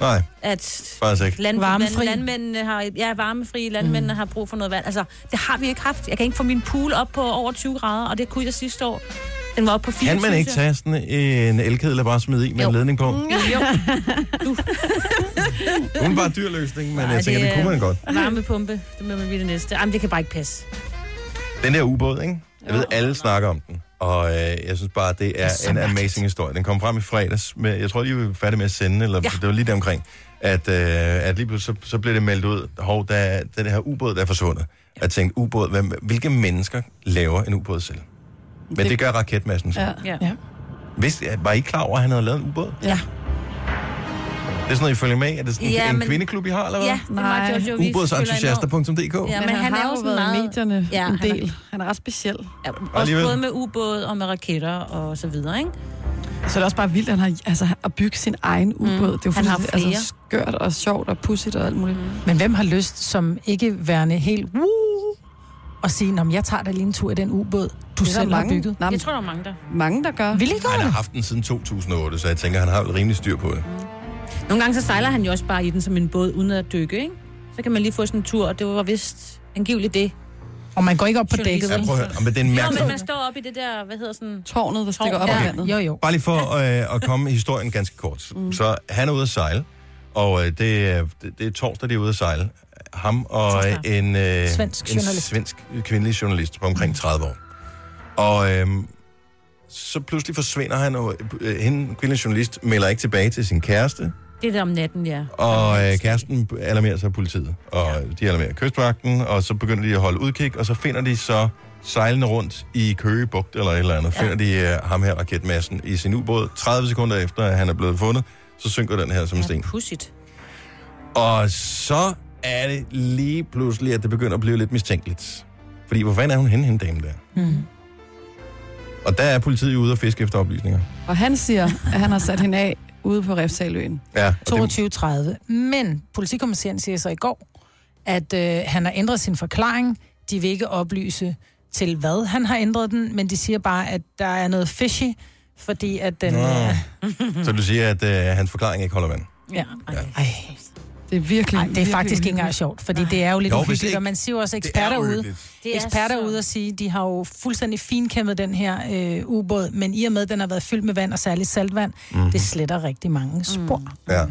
Nej, at faktisk ikke. land, Land, Varmefri. landmændene har, ja, varmefri, landmændene mm. har brug for noget vand. Altså, det har vi ikke haft. Jeg kan ikke få min pool op på over 20 grader, og det kunne jeg sidste år. Den var oppe på 4, Kan man ikke tage sådan en elkedel og bare smide i med Jo. en ledning på? Jo, Hun var dyr løsning, men Nej, jeg tænker, det det er- kunne man godt. varmepumpe, det må man blive det næste. Jamen, det kan bare ikke passe. Den der ubåd, ikke? Jeg ved, alle snakker om den. Og øh, jeg synes bare, det er, det er en amazing historie. Den kom frem i fredags. Med, jeg tror, de var færdige med at sende, eller ja. det var lige der omkring, at, øh, at lige pludselig så, så blev det meldt ud, hov, der, er- den her ubåd, der er forsvundet. Ja. Jeg tænkte, ubåd, hvem, hvilke mennesker laver en ubåd selv? Men det, det gør raketmassen. Ja. Ja. Ja. Ja. Vidste, var I ikke klar over, at han havde lavet en ubåd? Det Ja. er sådan noget, I følger med? Er det sådan Ja, ja, en men- kvindklub, I har, eller hvad? Ja, det var Nej. Jojo, vi følger enormt. Ubådsentusiaster.dk. Ja, Ja. men, han, er har jo jo sådan været meget... i medierne Ja, ja, en han er- del. Han er ret speciel. Ja, også alligevel. både med ubåd og med raketter og så videre, ikke? Så er det også bare vildt, at han har altså, at bygge sin egen ubåd. Mm. Det er jo Han har fuldstændig, flere. altså, skørt og sjovt og pudsigt og alt muligt. Mm. Men hvem har lyst som ikke værende helt woo, og sige, om jeg tager da lige en tur i den ubåd, du selv har bygget? Nej, Jeg tror, der er mange der. mange, der gør. Vil I Han gøre har det? haft den siden 2008, så jeg tænker, han har vel rimelig styr på det. Nogle gange så sejler han jo også bare i den som en båd uden at dykke, ikke? Så kan man lige få sådan en tur, og det var vist angiveligt det. Og man går ikke op på Journalist. dækket, Ja, vel? prøv at høre. Men det er en Jo, men man mærkelig... står op i det der, hvad hedder sådan... Tårnet, der stikker op Ja. i Okay. vandet. Jo, jo. Bare lige for øh, at komme historien ganske kort. Mm. Så han er ude at sejle, og øh, det, er- det, det er torsdag, de er ude at sejle. Ham og øh, en, øh, Svensk en journalist. svensk kvindelig journalist på omkring 30 år. Og øh, så pludselig forsvinder han, og øh, hende, kvindelige journalist, melder ikke tilbage til sin kæreste, Det der om natten, ja. Og øh, kæresten alarmerer så politiet, og de alarmerer kystvagten, og så begynder de at holde udkig, og så finder de så sejlende rundt i Køge Bugt eller et eller andet, finder de øh, ham her, raketmassen, i sin ubåd. 30 sekunder efter, at han er blevet fundet, så synker den her som en Ja, sten. pudsigt. Og så er det lige pludselig, at det begynder at blive lidt mistænkeligt. Fordi hvor fanden er hun henne, hende dame der? Mm. Hmm. Og der er politiet jo ude og fiske efter oplysninger. Og han siger, at han har sat hende af ude på Refsaløen. Ja, og det, 22.30. Men politikommissæren siger så i går, at øh, han har ændret sin forklaring. De vil ikke oplyse til hvad han har ændret den, men de siger bare, at der er noget fishy, fordi at den... Nå. Øh, så du siger, at øh, hans forklaring ikke holder vand. ja. Ej, Det er virkelig, ej, det er virkelig faktisk ikke engang uhyggeligt. sjovt, fordi det er jo lidt Jo, jo, hvis uhyggeligt, ikke- og man siger jo også eksperter ude. uhyggeligt. Det er eksperter så- ude og sige, de har jo fuldstændig finkæmmet den her øh, ubåd, men i og med, at den har været fyldt med vand, og særligt saltvand, Mhm. mm. det sletter rigtig mange spor. Mm. Ja. Og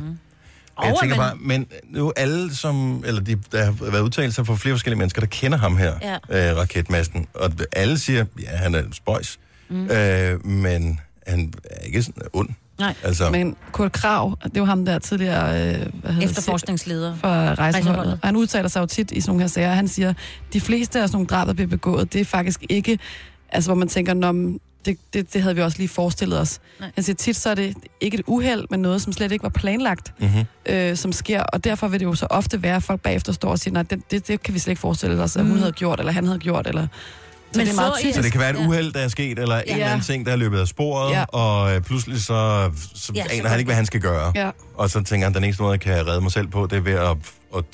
jeg Mhm. Og tænker man- bare, men nu alle som, eller de, der har været udtalelser fra flere forskellige mennesker, der kender ham her, ja. øh, raketmasten, og alle siger, ja, han er en spøjs, Mhm. mm. øh, men han er ikke sådan ond. Nej. Altså, men... Men Kurt Krav, det var ham der tidligere... Øh, hvad hedder Efterforskningsleder. for rejseholdet. Rejseholdet. Og han udtaler sig jo tit i sådan nogle her sager. Han siger, de fleste af sådan nogle drab, der bliver begået, det er faktisk ikke, altså hvor man tænker, Nå, men det, det, det havde vi også lige forestillet os. Nej. Nej. Han siger, tit så er det ikke et uheld, men noget, som slet ikke var planlagt, mm-hmm. øh, som sker. Og derfor vil det jo så ofte være, at folk bagefter står og siger, nej, det, det, det kan vi slet ikke forestille os, at hun havde gjort, eller han havde gjort, eller... Så Mm. Men men det er meget så I- tydeligt. Så det kan være et Ja. uheld, der er sket, eller ja. en Ja. eller anden ting, der er løbet af sporet, ja. Ja. og øh, pludselig så, så Ja, ja, så aner går han det. ikke, hvad han skal gøre. Ja. Og så tænker han, den eneste måde, jeg kan redde mig selv på, det er ved at, at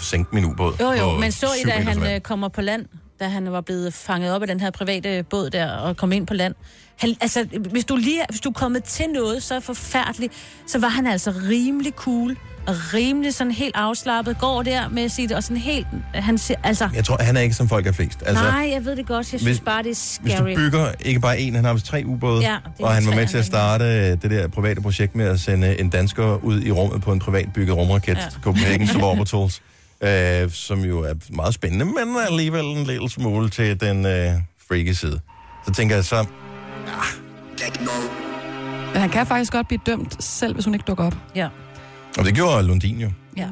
sænke min ubåd. Jo, jo, på men så i, syv da meters han vand. øh, kommer på land, da han var blevet fanget op af den her private båd der og kom ind på land. Han, altså, hvis du, lige, hvis du er kommet til noget så forfærdeligt, så var han altså rimelig cool og rimelig sådan helt afslappet, går der med sit, og sådan helt, han siger, altså, Jeg tror, han er ikke som folk er flest. Altså, nej, jeg ved det godt, jeg hvis- synes bare, det er Hvis du scary. bygger ikke bare en, han har vist tre ubåde, Ja, det er og han var tre, med han til at starte øh, det der private projekt med at sende en dansker ud i rummet på en privat bygget rumraket, ja. Ja. *laughs* Copenhagen Suborbitals, øh, som jo er meget spændende, men er alligevel en lille smule til den øh, freaky side. Så tænker jeg så, Men han kan faktisk godt blive dømt, selv hvis hun ikke dukker op. Ja, og det gjorde Lundin jo. ja.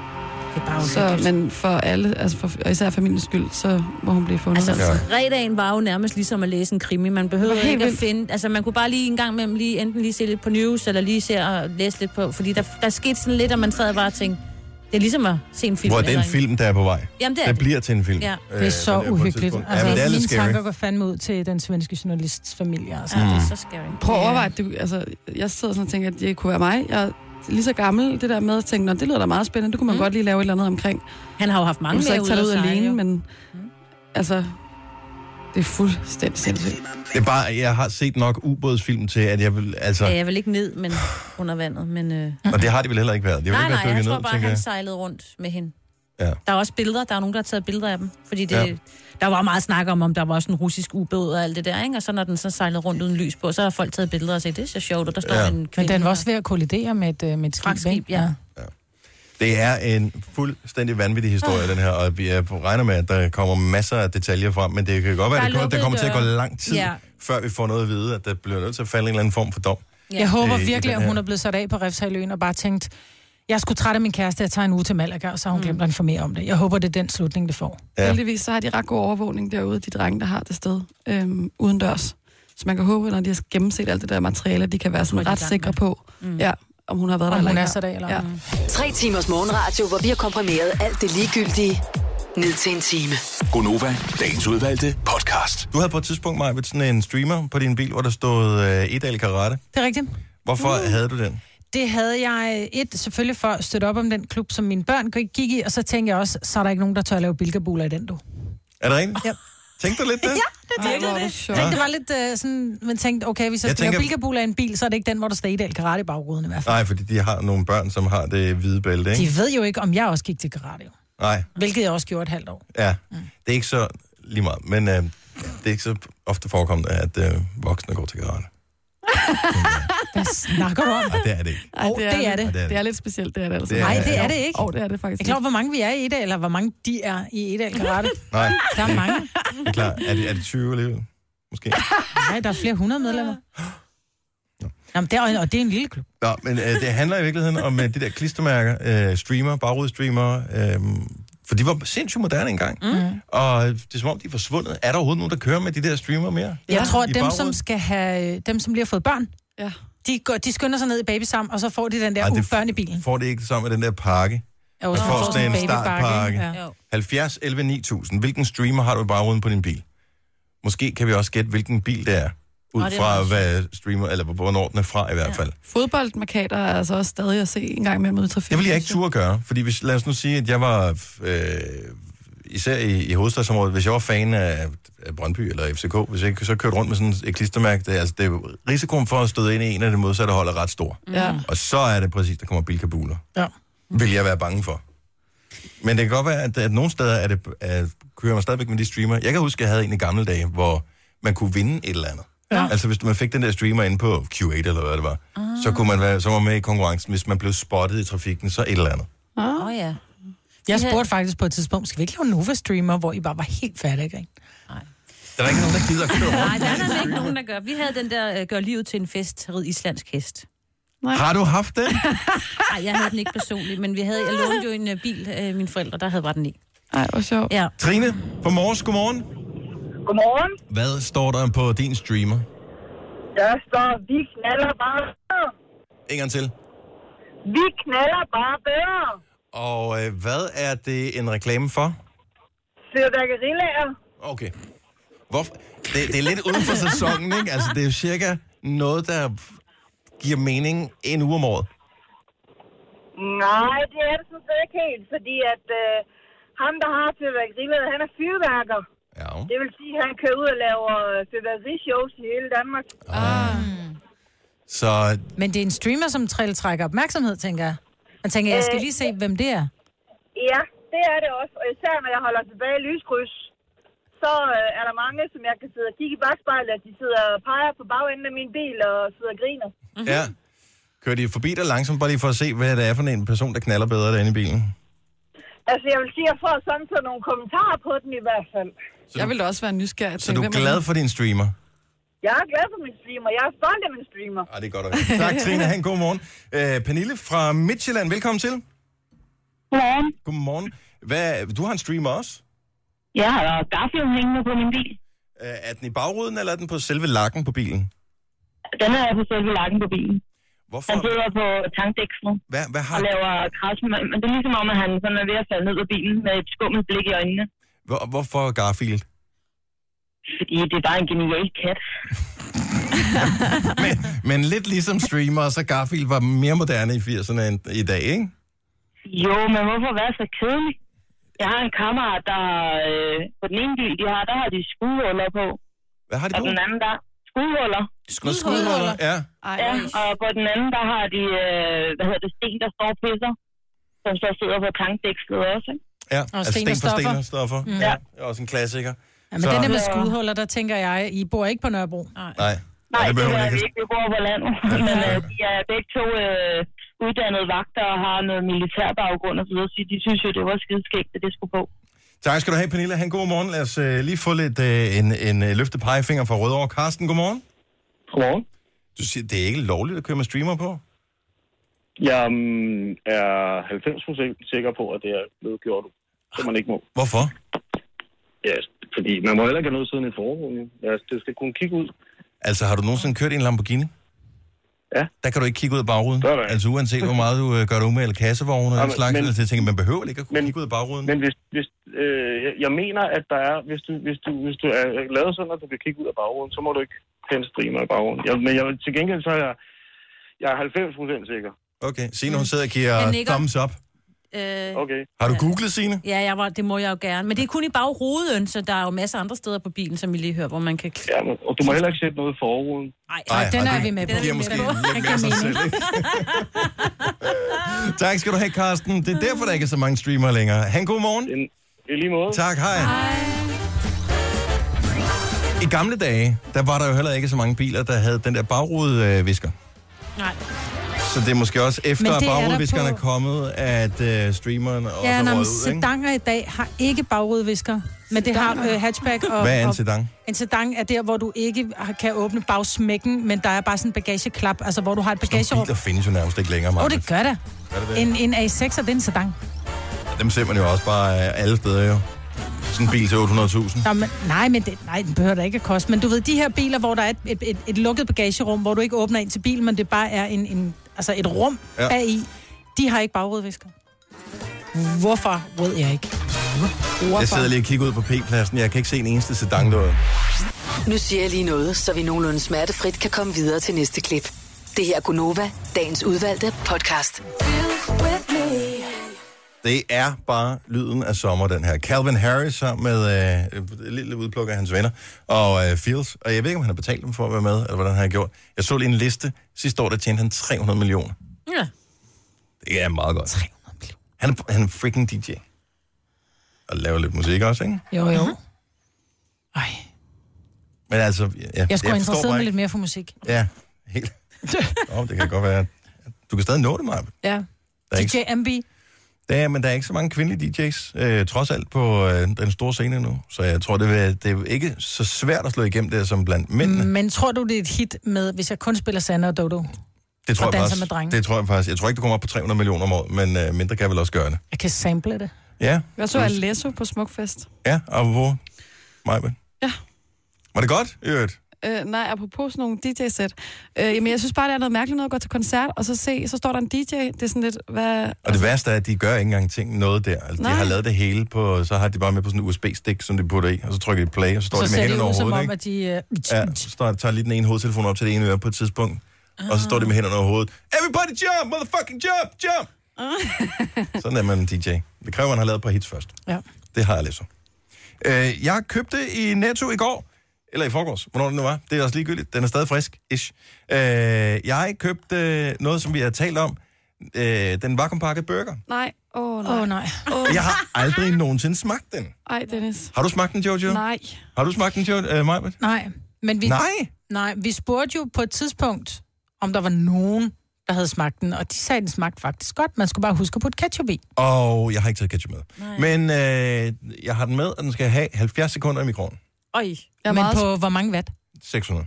*laughs* Det er bare Så, uhyggeligt. men for alle, altså for, og især familiens skyld, så må hun blive fundet. Altså, Altså, Ja. ja. fredagen var jo nærmest ligesom at læse en krimi. Man behøvede Det var helt ikke at vildt. finde... Altså, man kunne bare lige en gang imellem lige, enten lige se lidt på news, eller lige se og læse lidt på... Fordi der, der skete sådan lidt, og man sad bare og tænkte, det er ligesom at se en film. Hvor det er eller en film, der er på vej. Jamen, det er Det det. bliver til en film. Ja. øh, Det på er så et uhyggeligt. tidspunkt. Altså, ja, men det er mine lidt scary. tanker går fandme ud til den svenske journalists familie. Altså. Ja, det Mm. er så scary. prøv at overveje, det, altså, jeg sidder sådan og tænker, at det kunne være mig. Jeg er lige så gammel, det der med at tænke, "Nå, det lyder da meget spændende, det kunne man mm. godt lige lave et eller andet omkring. Han har jo haft Man mange så mere ikke tage ude det ud at sejle, alene, jo. men Mm. altså, det er fuldstændig sindssygt. Det er bare, jeg har set nok ubådsfilm til, at jeg vil, altså, Ja, jeg vil ikke ned men under vandet, men... Øh... og det har de vel heller ikke været. Det vil Nej, ikke nej, være jeg dykket tror ned, bare, tænker han jeg. sejlede rundt med hende. Ja. Der er også billeder, der er nogen, der har taget billeder af dem. Fordi det, Ja. ja. der var meget snak om, om der var også en russisk ubåd og alt det der, ikke? Og så når den så sejlede rundt uden lys på, så har folk taget billeder og sagt, det er så sjovt, og der står Ja. ja. en kvinde. Men den var her. også ved at kollidere med et, øh, med et skib, Fragtskib, ikke? ja. Det er en fuldstændig vanvittig historie, den her, og vi er- regner med, at der kommer masser af detaljer frem, men det kan godt være, Der er at det, kun- der lukkede kommer til at gå døre. lang tid, ja. Ja. før vi får noget at vide, at der bliver nødt til at falde en eller anden form for dom. Ja. Jeg håber Øh, i virkelig, den at hun her. er blevet sat af på Refshaløen og bare tænkt, jeg skulle trætte af min kæreste, jeg tager en uge til Malaga, og så har hun glemt at informere om det. Jeg håber, det er den slutning, det får. Ja. Ja. Heldigvis så har de ret god overvågning derude, de drenge, der har det sted øhm, uden dørs. Så man kan håbe, når de har gennemset alt det der materiale, at de kan være Hvor sådan de er ret i gang sikre med. på, mm. ja, om hun har været der Om hun eller er Mm. ikke. sig der eller ja. om- Tre timers morgenradio, hvor vi har komprimeret alt det ligegyldige ned til en time. Gonova, dagens udvalgte podcast. Du havde på et tidspunkt, Maja, sådan en streamer på din bil, hvor der stod øh, Edal Karate. Det er rigtigt. Hvorfor uh. havde du den? Det havde jeg øh, et selvfølgelig for at støtte op om den klub, som mine børn gik i, og så tænkte jeg også, så er der ikke nogen, der tør at lave bilkabuler i den, du. Er det rigtigt? Ja. Tænkte du lidt det? det Ej, hvor er du sjov. Tænkte, det var lidt øh, sådan, man tænkte, okay, hvis jeg, Jeg skal tænker... lave tænker- bilkabuler i en bil, så er det ikke den, hvor der står Edal Karate i bagruden i hvert fald. Nej, fordi de har nogle børn, som har det hvide bælte, ikke? De ved jo ikke, om jeg også gik til karate, jo. Nej, hvilket jeg også gjorde et halvt år. ja. Det er ikke så lige meget, men øh, det er ikke så ofte forekommende, at øh, voksne går til karate. Hvad snakker du om? Nej, det er det ikke. Ej, Åh, det er det. Ej, det er Det er det. lidt specielt, det er det altså. Det er- Nej, det er det ikke. Åh, oh, det er det Jeg er faktisk. klar, over, hvor mange vi er i Edal, eller hvor mange de er i Edal Karate. Nej, Der er mange. det er klart. Er det, er det 20 alligevel? Måske. Nej, der er flere hundrede medlemmer. Jamen, det er, og det er en lille klub. Nå, men øh, det handler i virkeligheden om øh, de der klistermærker, øh, streamer, bagrudstreamer, øh, for de var sindssygt moderne engang. Mm. Og det er som om, de er forsvundet. Er der overhovedet nogen, der kører med de der streamer mere? Jeg tror, I at dem, som bagruden? skal have, dem, som lige har fået børn, Ja. de, går, de skynder sig ned i babysam, og så får de den der Ej, det uh, f- børn i bilen. Får det ikke sammen med den der pakke? Og Man så får får sådan en babybakke, startpakke. ikke? Jo. 70, 11, 9000. Hvilken streamer har du i bagruden på din bil? Måske kan vi også gætte, hvilken bil det er. Ud Nå, det er fra, meget hvad streamer, eller hvornår den er fra i hvert fald. Fodboldmarkader er altså også stadig at se en gang imellem ud i trafikken. Det ville jeg ikke turde gøre, fordi hvis, lad os nu sige, at jeg var, øh, især i, i hovedstadsområdet, hvis jeg var fan af, af Brøndby eller FCK, hvis jeg så kørte rundt med sådan et klistermærke, det, er altså, det, er- risikoen for at støde ind i en af de modsatte hold er ret stor. Ja. Og så er det præcis, der kommer bilkabuler. Ja. Vil jeg være bange for. Men det kan godt være, at, at nogle steder er det, at kører man stadigvæk med de streamer. Jeg kan huske, at jeg havde en i gamle dage, hvor man kunne vinde et eller andet. Ja. Altså hvis man fik den der streamer ind på Q8 eller hvad det var, ah. så kunne man være, så var man med i konkurrencen. Hvis man blev spottet i trafikken, så et eller andet. Åh oh, ja. Jeg spurgte faktisk på et tidspunkt, skal vi ikke lave Nova-streamer, hvor I bare var helt færdige, ikke? Der er ikke nogen, der gider at køre Nej, rundt. der er nemlig ikke nogen, der gør. Vi havde den der, øh, gør livet til en fest, rid islandsk hest. Har du haft det? Nej, jeg havde den ikke personligt, men vi havde, jeg lånte jo en øh, bil, øh, mine forældre, der havde bare den i. Ej, hvor sjovt. Ja. Trine, på morges, godmorgen. Godmorgen. Hvad står der på din streamer? Der står, vi knaller bare bedre. En gang til. Vi knaller bare bedre. Og øh, hvad er det en reklame for? Fyrværkerilager. Okay. Hvorfor? Det, det er lidt uden for sæsonen, ikke? Altså, det er jo cirka noget, der giver mening en uge om året. Nej, det er det sådan set ikke helt, fordi at øh, ham, der har fyrværkerilager, han er fyrværker. Ja. Det vil sige, at han kører ud og laver øh, fyrværkerishows i hele Danmark. Så Men det er en streamer, som træl- trækker opmærksomhed, tænker jeg. Man tænker, jeg skal lige se, hvem det er. Ja, det er det også. Og især når jeg holder tilbage i lyskryds, så øh, er der mange, som jeg kan sidde og kigge i bagspejlet, at de sidder og peger på bagenden af min bil og sidder og griner. ja, kører de forbi dig langsomt, bare lige for at se, hvad det er for en person, der knaller bedre derinde i bilen. Altså, jeg vil sige, at jeg får samtidig nogle kommentarer på den i hvert fald. Så Jeg du, ville da også være nysgerrig. og så tænke, du er hvem er glad det? for din streamer? Jeg er glad for min streamer. Jeg er stolt af min streamer. Ah, det er godt at høre. Tak, Trine. Ha' en god morgen. Øh, Pernille fra Midtjylland, velkommen til. Godmorgen. Godmorgen. Hvad, du har en streamer også? Jeg har Garfield hængende på min bil. Øh, er den i bagruden, eller er den på selve lakken på bilen? Den er jeg på selve lakken på bilen. Han Hvorfor? sidder på tankdækslet Hvad, hvad og har, laver kras. med- Men det er ligesom om, at han sådan er ved at falde ned af bilen med et skummelt blik i øjnene. hvor, hvorfor Garfield? Fordi det er bare en genial kat. men, men lidt ligesom streamer, så Garfield var mere moderne i 80'erne end i dag, ikke? Jo, men hvorfor være så kedelig? Jeg har en kammerat, der øh, på den ene bil, de har, der har de skudhuller på. Hvad har de Og på? den anden, der skudhuller. Nå, skudhuller. Ja. Ej, Ja, hvor- og på den anden, der har de, øh, hvad hedder det, sten, der står og pisser, som så sidder på tankdækslet også, ikke? Ja, Og altså sten sten og for sten stoffer. og stoffer. Mm. Ja, det er også en klassiker. Ja, men Så- den der med skudhuller, der tænker jeg, I bor ikke på Nørrebro. Nej, Nej, det det, behøver det man er vi ikke. ikke. Vi bor på landet. Men øh, de er begge to øh, uddannede vagter og har noget militær baggrund og så videre. Så de synes jo, det var skideskægt, at det skulle på. Tak skal du have, Pernille. Han god morgen. Lad os øh, lige få lidt øh, en, en øh, løftet pegefinger fra Rødovre. Karsten, god morgen. Godmorgen. Du siger, det er ikke lovligt at køre med streamer på? Jeg mm, er 90% sikker på, at det er blevet gjort, så man ikke må. Hvorfor? Ja, fordi man må heller ikke have noget siden i forhånden. Ja, det skal kunne kigge ud. Altså, har du nogensinde kørt i en Lamborghini? Ja. Der kan du ikke kigge ud af bagruden. Det er der ikke. Altså, uanset hvor meget du øh, gør dig umage, eller kassevogne, eller Ja, den men- slags, men- eller til ting, man behøver ikke at kunne men- kigge ud af bagruden. Men hvis, hvis, øh, jeg- jeg mener, at der er, hvis du, hvis du, hvis du er lavet sådan, at du kan kigge ud af bagruden, så må du ikke have en streamer i bagruden. Jeg, men jeg, til gengæld så er jeg, jeg er 90 sikker. Okay, Signe, hun sidder og Jeg giver nikker. thumbs up. Øh, Okay. Har du googlet, Signe? ja, jeg var, det må jeg jo gerne. Men det er kun i bagruden, så der er jo masser af andre steder på bilen, som vi lige hører, hvor man kan... Ja, men, og du må heller ikke sætte noget i forruden. Nej, Ej, Ej, den ej, er det- vi med på. Det giver måske lidt mere sig selv, ikke? *laughs* tak skal du have, Carsten. Det er derfor, der ikke er så mange streamere længere. Han, god morgen. En, I lige måde. Tak, hej. hej. I gamle dage, der var der jo heller ikke så mange biler, der havde den der bagrudevisker. Øh, visker. nej. så det er måske også Men efter, det at er der bagrudeviskeren på- er kommet, at øh, streameren også Ja, er røget når men ud, ikke? sedanger i dag har ikke bagrudvisker, men det har øh, hatchback og... Hvad er en og- sedan? En sedan er der, hvor du ikke har- kan åbne bagsmækken, men der er bare sådan en bagageklap, altså hvor du har et Nogle bagagerum. biler findes jo nærmest ikke længere, Åh, oh, Marcus. det gør det. det det? En, en A6 er det er en sedan. Dem ser man jo også bare øh, alle steder, jo. Sådan en bil til 800.000. Nå, men, nej, men det, nej, den behøver da ikke at koste. Men du ved, de her biler, hvor der er et, et, et, et lukket bagagerum, hvor du ikke åbner ind til bilen, men det bare er en, en, altså et rum Ja. ja. bagi, de har ikke bagrudvisker. Hvorfor ved jeg ikke. Jeg sidder lige og kigger ud på P-pladsen. Jeg kan ikke se en eneste sedan derude. Nu siger jeg lige noget, så vi nogenlunde smertefrit kan komme videre til næste klip. Det her er Gunova, dagens udvalgte podcast. Det er bare lyden af sommer, den her. Calvin Harris sammen med øh, et lille udpluk af hans venner og øh, Fields. Og jeg ved ikke, om han har betalt dem for at være med, eller hvordan han har gjort. Jeg så lige en liste. Sidste år, der tjente han 300 millioner. Ja. Det er meget godt. 300 millioner. Han er, han er freaking DJ. Og laver lidt musik også, ikke? Jo, jo. Mhm. Ej, Men altså, ja, jeg skulle forstår have interesseret bare mig ikke- lidt mere for musik. Ja, helt. Nå, det kan godt være. at- Du kan stadig nå det, Maja. Ja. Der er ikke DJ MB. Der er, men der er ikke så mange kvindelige DJ's, øh, trods alt på øh, den store scene nu. Så jeg tror, det, vil, det er ikke så svært at slå igennem der som blandt mændene. Mm, Men tror du, det er et hit med, hvis jeg kun spiller Sanna og Dodo? det, tror og jeg danser faktisk, med drenge. det tror jeg faktisk. Jeg tror ikke, du kommer op på 300 millioner om året, men øh, mindre kan vel også gøre det. Jeg kan sample det. Ja, Jeg så Alesso på Smukfest. ja, og hvor? Majbel. Ja. Var det godt, i øvrigt? Øh, nej, apropos sådan nogle DJ-sæt. Øh, jamen, jeg synes bare, det er noget mærkeligt noget at gå til koncert, og så se, så står der en DJ. Det er sådan lidt, hvad... Og det værste er, at de gør ikke engang ting noget der. Altså, de Nej. har lavet det hele på, så har de bare med på sådan en USB-stik, som de putter i, og så trykker de play, og så står de Så med ser det hænderne over ud som hovedet, om, ikke? at de... Øh, Ja, så står- tager lige den ene hovedtelefon op til det ene øre på et tidspunkt, og så står de med hænderne over hovedet. Everybody jump, motherfucking jump, jump! *laughs* Sådan er man en DJ. Det kræver, man har lavet på hits først. Ah. ja. Det har jeg læst. Øh, jeg købte i Netto i går, eller i forgårs, hvornår det nu var. Det er også ligegyldigt. Den er stadig frisk, ish. Øh, jeg købte øh, noget, som vi har talt om. Øh, den vakuumpakket burger. Nej, åh oh, nej. Åh, oh, Oh, nej. Jeg har aldrig nogensinde smagt den. Ej, Dennis. Har du smagt den, Jojo? Nej. Har du smagt den, Jojo? Øh, Majbert? Nej, men vi, Nej. nej, vi spurgte jo på et tidspunkt, om der var nogen, der havde smagt den, og de sagde, at den smagte faktisk godt. Man skulle bare huske at putte ketchup i. Og jeg har ikke taget ketchup med. Nej. Men øh, jeg har den med, og den skal have 70 sekunder i mikroen. Øj. Jeg er Men meget... På... på hvor mange watt? 600.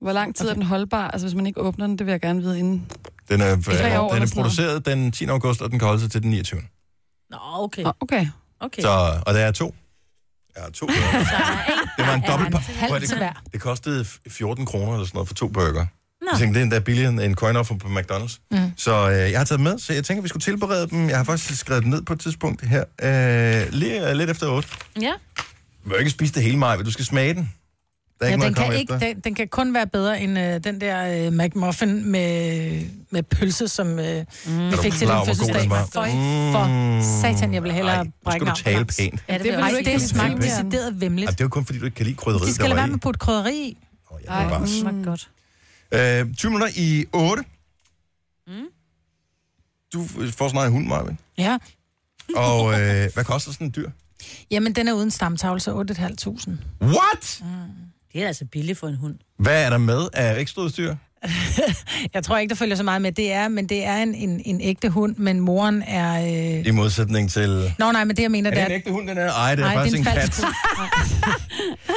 Hvor lang tid okay. er den holdbar? Altså, hvis man ikke åbner den, det vil jeg gerne vide inden. Den er, tre år øh, den eller er sådan produceret den 10. august, og den kan holde sig til den 29. Nå, okay. Nå, okay. okay. Så, og der er to. Ja, to. burgere. det var en dobbelt... Prøv, Halv til det, hver. det kostede 14 kroner eller sådan noget for to burger. Jeg tænkte, det er endda billigere end en coin offer på McDonald's. Mm. Så øh, jeg har taget dem med, så jeg tænker, vi skulle tilberede dem. Jeg har faktisk skrevet dem ned på et tidspunkt her. Øh, lige, øh, lidt efter 8. Ja. Du må ikke spise det hele, Maja, men du skal smage den. Der er Ja, ikke ja, noget den, at kan komme ikke, efter. den, den kan kun være bedre end øh, den der øh, McMuffin med, med pølse, som øh, mm. vi fik klar til den over, hvor god fødselsdag. den var? Mm. Føj for satan, jeg ville hellere Ej, nu skal brække du armen tale langs. pænt. Ja, det, Det vil vil Ej, jeg også du ikke det sige. smagte Pænt. decideret Ej, vemmeligt. det er jo kun fordi, du ikke kan lide krydderiet, De skal der lade var være i. med at putte krydderi i. Åh, ja, Mm. det var Ej, bare smagte godt. Øh, 20 minutter i 8. Mm. Du får sådan en hund, Marvin. Ja. Og øh, hvad koster sådan en dyr? Jamen, den er uden stamtavle, så 8.500. What? *laughs* Det er altså billigt for en hund. Hvad er der med af ekstraudstyr? Jeg tror ikke, der følger så meget med. Det er, men det er en, en, en ægte hund, men moren er... Øh... I modsætning til... Nå, nej, men det, jeg mener, Er det det en er... ægte hund, den er? Ej, det er Nej, faktisk en, falsk kat.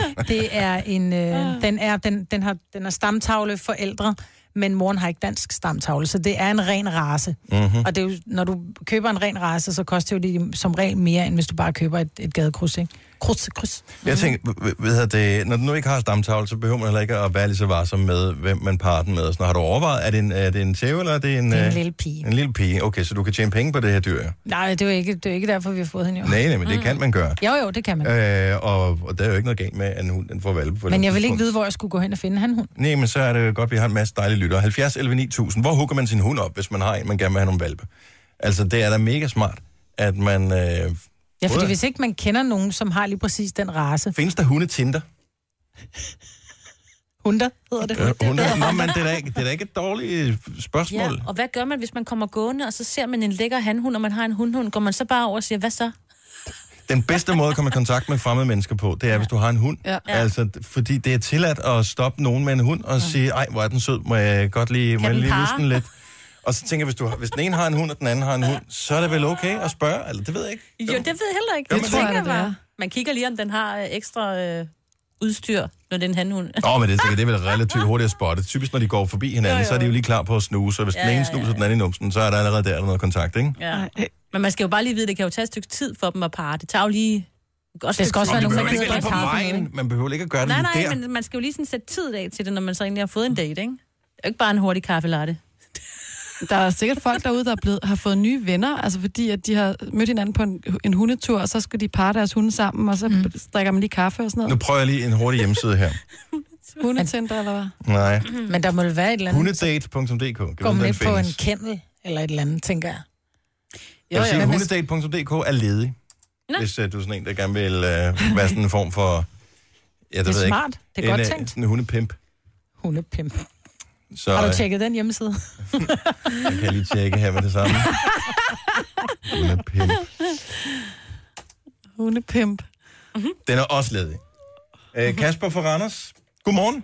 hund. det er en... Øh, den, er, den, den, har, den har stamtavle forældre, men moren har ikke dansk stamtavle, så det er en ren race. Mhm. Mm-hmm. Og det er jo, når du køber en ren race, så koster det jo det som regel mere, end hvis du bare køber et, et gadekryds, ikke? Kryds, kryds. Jeg tænker, h- h- ved jeg det, når du nu ikke har stamtavle, så behøver man heller ikke at være lige så varsom med, hvem man parer den med. og Sådan, har du overvejet, er det en, er det en tæve, eller er det en... Det er en øh, lille pige. En lille pige. Okay, så du kan tjene penge på det her dyr. ja? Nej, det er jo ikke, det er jo ikke derfor, vi har fået hende jo. Nej, nej, men det kan man gøre. Jo, jo, det kan man. Øh, og, og der er jo ikke noget galt med, at en hund den får valpe på Men jeg vil ikke vide, hvor jeg skulle gå hen og finde han hund. Nej, men så er det jo godt, at vi har en masse dejlige lyttere. 70 11 9000. Hvor hugger man sin hund op, hvis man har en, man gerne vil have nogle valpe? Altså, det er da mega smart, at man... Øh, Ja, fordi Hvordan? hvis ikke man kender nogen, som har lige præcis den race. findes der hunde Tinder? Hunder hedder det. Øh, hunde? Nå, men det er, da ikke, det er da ikke et dårligt Ja, spørgsmål. og hvad gør man, hvis man kommer gående, og så ser man en lækker handhund, og man har en hundhund? Går man så bare over og siger, hvad så? Den bedste måde at komme i kontakt med fremmede mennesker på, det er, hvis du har en hund. Ja. Altså, d- fordi det er tilladt at stoppe nogen med en hund og sige, ej, hvor er den sød, må jeg godt lige, må jeg den lige parre?" lusse den lidt. Og så tænker jeg, hvis, du har, hvis den ene har en hund, og den anden har en hund, så er det vel okay at spørge? Eller det ved jeg ikke. Jo, det ved jeg heller ikke. Jo, men det- tror jeg, det bare. er. Man kigger lige, om den har øh, ekstra øh, udstyr, når det er en handhund. Nå, men det, er- det er vel relativt hurtigt at spotte. Typisk, når de går forbi hinanden, jo, jo. så er de jo lige klar på at snuse, og hvis ja, den ene snuser den anden i numsen, så er der allerede der, der er noget kontakt, ikke? Ja. Men man skal jo bare lige vide, det kan jo tage et stykke tid for dem at parre. Det tager jo lige... Også Det skal også Og være man nogen, behøver der ikke gider at drikke på kaffe. med, vejen, ikke? man behøver ikke at gøre det Nej, lige nej, der. men man skal jo lige sådan sætte tid af til det, når man så egentlig har fået en date, ikke? Det er jo ikke bare en hurtig kaffe latte. Der er sikkert folk derude, der er blevet, har fået nye venner, altså fordi at de har mødt hinanden på en, en hundetur, og så skal de parre deres hunde sammen, og så mm. drikker man lige kaffe og sådan Nu noget. prøver jeg lige en hurtig hjemmeside her. Hundetænder eller hvad? Nej. Hmm. Men der må vel være et eller andet. Hundedate.dk. Kan Går vide, man den ikke Mhm. på en findes. kennel eller et eller andet, tænker jeg. Jeg vil sige, men- hundedate.dk er ledig. Nå. Hvis uh, du er sådan en, der gerne vil uh, være sådan en form for... Ja, det, Det ved er jeg smart. Det er en, godt øh, tænkt. Sådan en hundepimp. Hundepimp. Så Har du øh, tjekket den hjemmeside? jeg kan lige tjekke her med det *laughs* samme. hundepimp. Hundepimp. Den er også ledig. Uh, Kasper fra Randers. Godmorgen.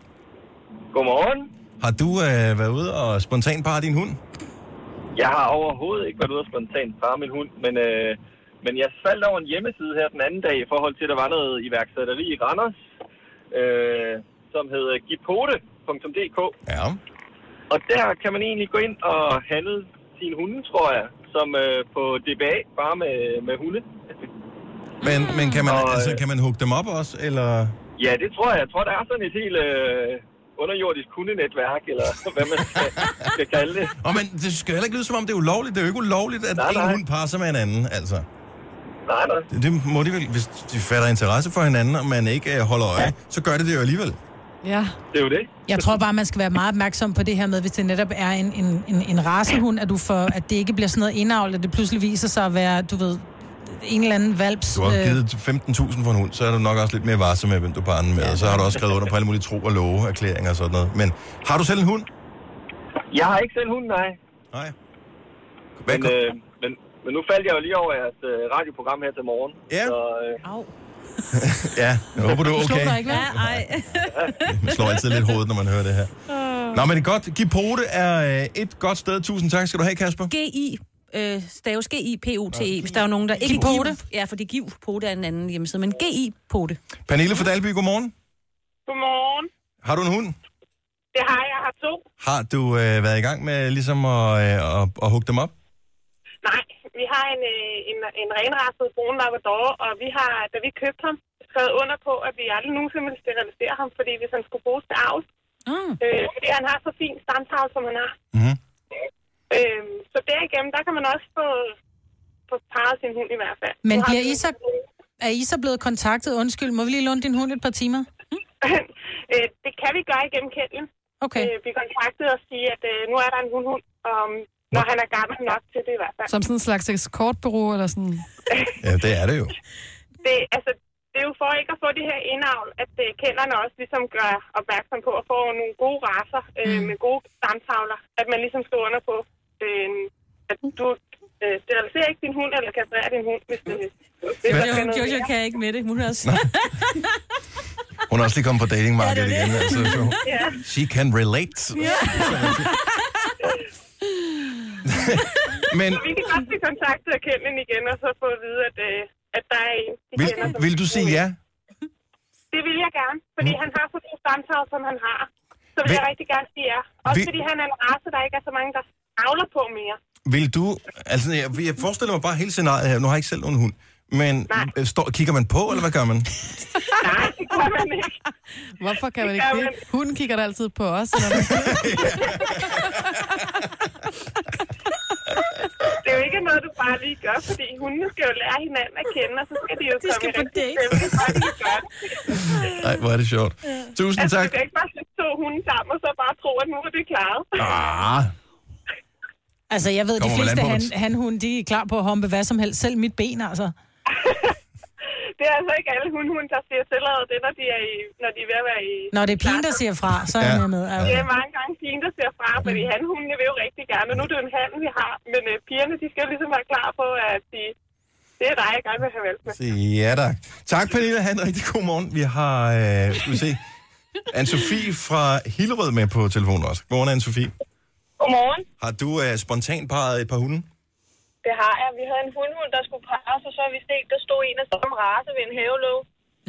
Godmorgen. Har du uh, været ude og spontant parre din hund? Jeg har overhovedet ikke været ude og spontant parre min hund, men, øh, men jeg faldt over en hjemmeside her den anden dag i forhold til, at der var noget iværksætteri i Randers, øh, som hedder gipote.dk. Ja. Og der kan man egentlig gå ind og handle sine hunde, tror jeg, som øh, på DBA, bare med, med hunde. Men, men kan, man, Og, øh, altså, kan man hugge dem op også, eller... Ja, det tror jeg. Jeg tror, der er sådan et helt øh, underjordisk hundenetværk, eller hvad man skal, skal kalde det. Og men det skal heller ikke lyde, som om det er ulovligt. Det er jo ikke ulovligt, at Nej, en nej. hund parer sig med en anden, altså. Nej, nej. Det- Det må de vel, hvis de fatter interesse for hinanden, og man ikke øh, holder øje, så gør det det jo alligevel. Ja. Det er jo det. Jeg tror bare, man skal være meget opmærksom på det her med, hvis det netop er en, en, en, en racehund, at, du får, at det ikke bliver sådan noget indavl, at det pludselig viser sig at være, du ved, en eller anden valps... Du har øh, givet 15.000 for en hund, så er du nok også lidt mere varsom med, hvem du parer den med. Og så har du også skrevet under på alle mulige tro og love, erklæringer og sådan noget. Men har du selv en hund? Jeg har ikke selv hund, nej. Nej. Hvad, Men, men, øh, men, men nu faldt jeg jo lige over jeres øh, radioprogram her til morgen. Ja. Så, øh, Au. ja, jeg håber du er slog dig okay. ikke, Ja, hvad? ej. Man slår altid lidt hovedet, når man hører det her. Øh. Nå, men det er godt. Gipote er øh, et godt sted. Tusind tak skal du have, Kasper. G-I, øh, staves G-I-P-O-T-E, E. hvis der er jo nogen, der ikke... Gipote? Ja, fordi Giv-pote er en anden hjemmeside, men G-I-pote. Pernille fra Dalby, godmorgen. Godmorgen. Har du en hund? Det har jeg. Jeg har to. Har du øh, været i gang med ligesom at, øh, at, at hugge dem op? Nej, vi har en, øh, en, en renrasset brun labrador, og vi har, da vi købte ham, skrevet under på, at vi aldrig nogensinde ville sterilisere ham, fordi hvis han skulle bruges til avl, Mm. øh, fordi han har så fin stamtavl, som han har. Mhm. Øh, så derigennem, der kan man også få, få parret sin hund i hvert fald. Men Nu har bliver vi- I så- Er I så blevet kontaktet? Undskyld, må vi lige låne din hund et par timer? *laughs* øh, det kan vi gøre igennem kælden. Okay. Øh, vi kontaktede og sige, at øh, nu er der en hundhund, og um, når han er gammel nok til det i hvert fald. Som sådan en slags escortbureau eller sådan. Ja, det er det jo. det, altså, det er jo for ikke at få det her indavl, at øh, kenderne også ligesom gør opmærksom på at få nogle gode raser øh, mm. med gode stamtavler. At man ligesom står under på, øh, at du øh, steriliserer ikke din hund, eller kastrerer din hund, hvis det, hvis der skal Jo, noget Jojo mere. kan ikke med det. Hun er også... Hun er også lige kommet på datingmarkedet Ja, det er igen. Altså, så Ja. she can relate. Men Vi kan godt blive kontaktet af kendene igen, og så få at vide, at, øh, at der er en, de vil, kender. som- vil du sige ja? Mm. Det vil jeg gerne, fordi han har så god stamtavle, som han har. Så vil Vil- jeg rigtig gerne sige ja. Også Vil- fordi han er en race, der ikke er så mange, der avler på mere. Vil du... Altså, jeg, jeg forestiller mig bare hele scenariet her. Nu har jeg ikke selv nogen hund. Men Nej. øh, står, kigger man på, eller hvad *laughs* gør man? Nej, det gør man ikke. Hvorfor kan man Det ikke gør det? Hunden kigger da altid på os. Når *laughs* man... Det er jo ikke noget, du bare lige gør, fordi hundene skal jo lære hinanden at kende, og så skal de jo De skal komme i på rigtig date. stemning, for at de kan gøre det. Nej, hvor er det sjovt. Tusind Altså, du tak. kan ikke bare sætte to hunde sammen, og så bare tro, at nu er det klaret. Ah, Altså, jeg ved, de Kommer man fleste an på, han, hvad- han de er klar på at humpe hvad som helst. Selv mit ben, altså. Det er altså ikke alle hundhunde, der siger tilladet det, når de er, i, når de er ved at være i... Når det er pigen, der siger fra, så er Ja. jeg med. Ja. Det er mange gange pigen, der ser fra, fordi hanhundene vil jo rigtig gerne. Og nu er det jo en hand, vi har, men øh, pigerne, de skal jo ligesom være klar på, at de, det er dig, jeg gerne vil have valgt med. ja tak. Tak, Pernille. Ha' en rigtig god morgen. Vi har, øh, skal vi se, Anne-Sophie fra Hillerød med på telefonen også. Godmorgen, Anne-Sophie. Godmorgen. Har du øh, spontant parret et par hunde? Det har jeg. Vi havde en hundhund, der skulle pares, og så har vi set, der stod en af samme race ved en havelåg.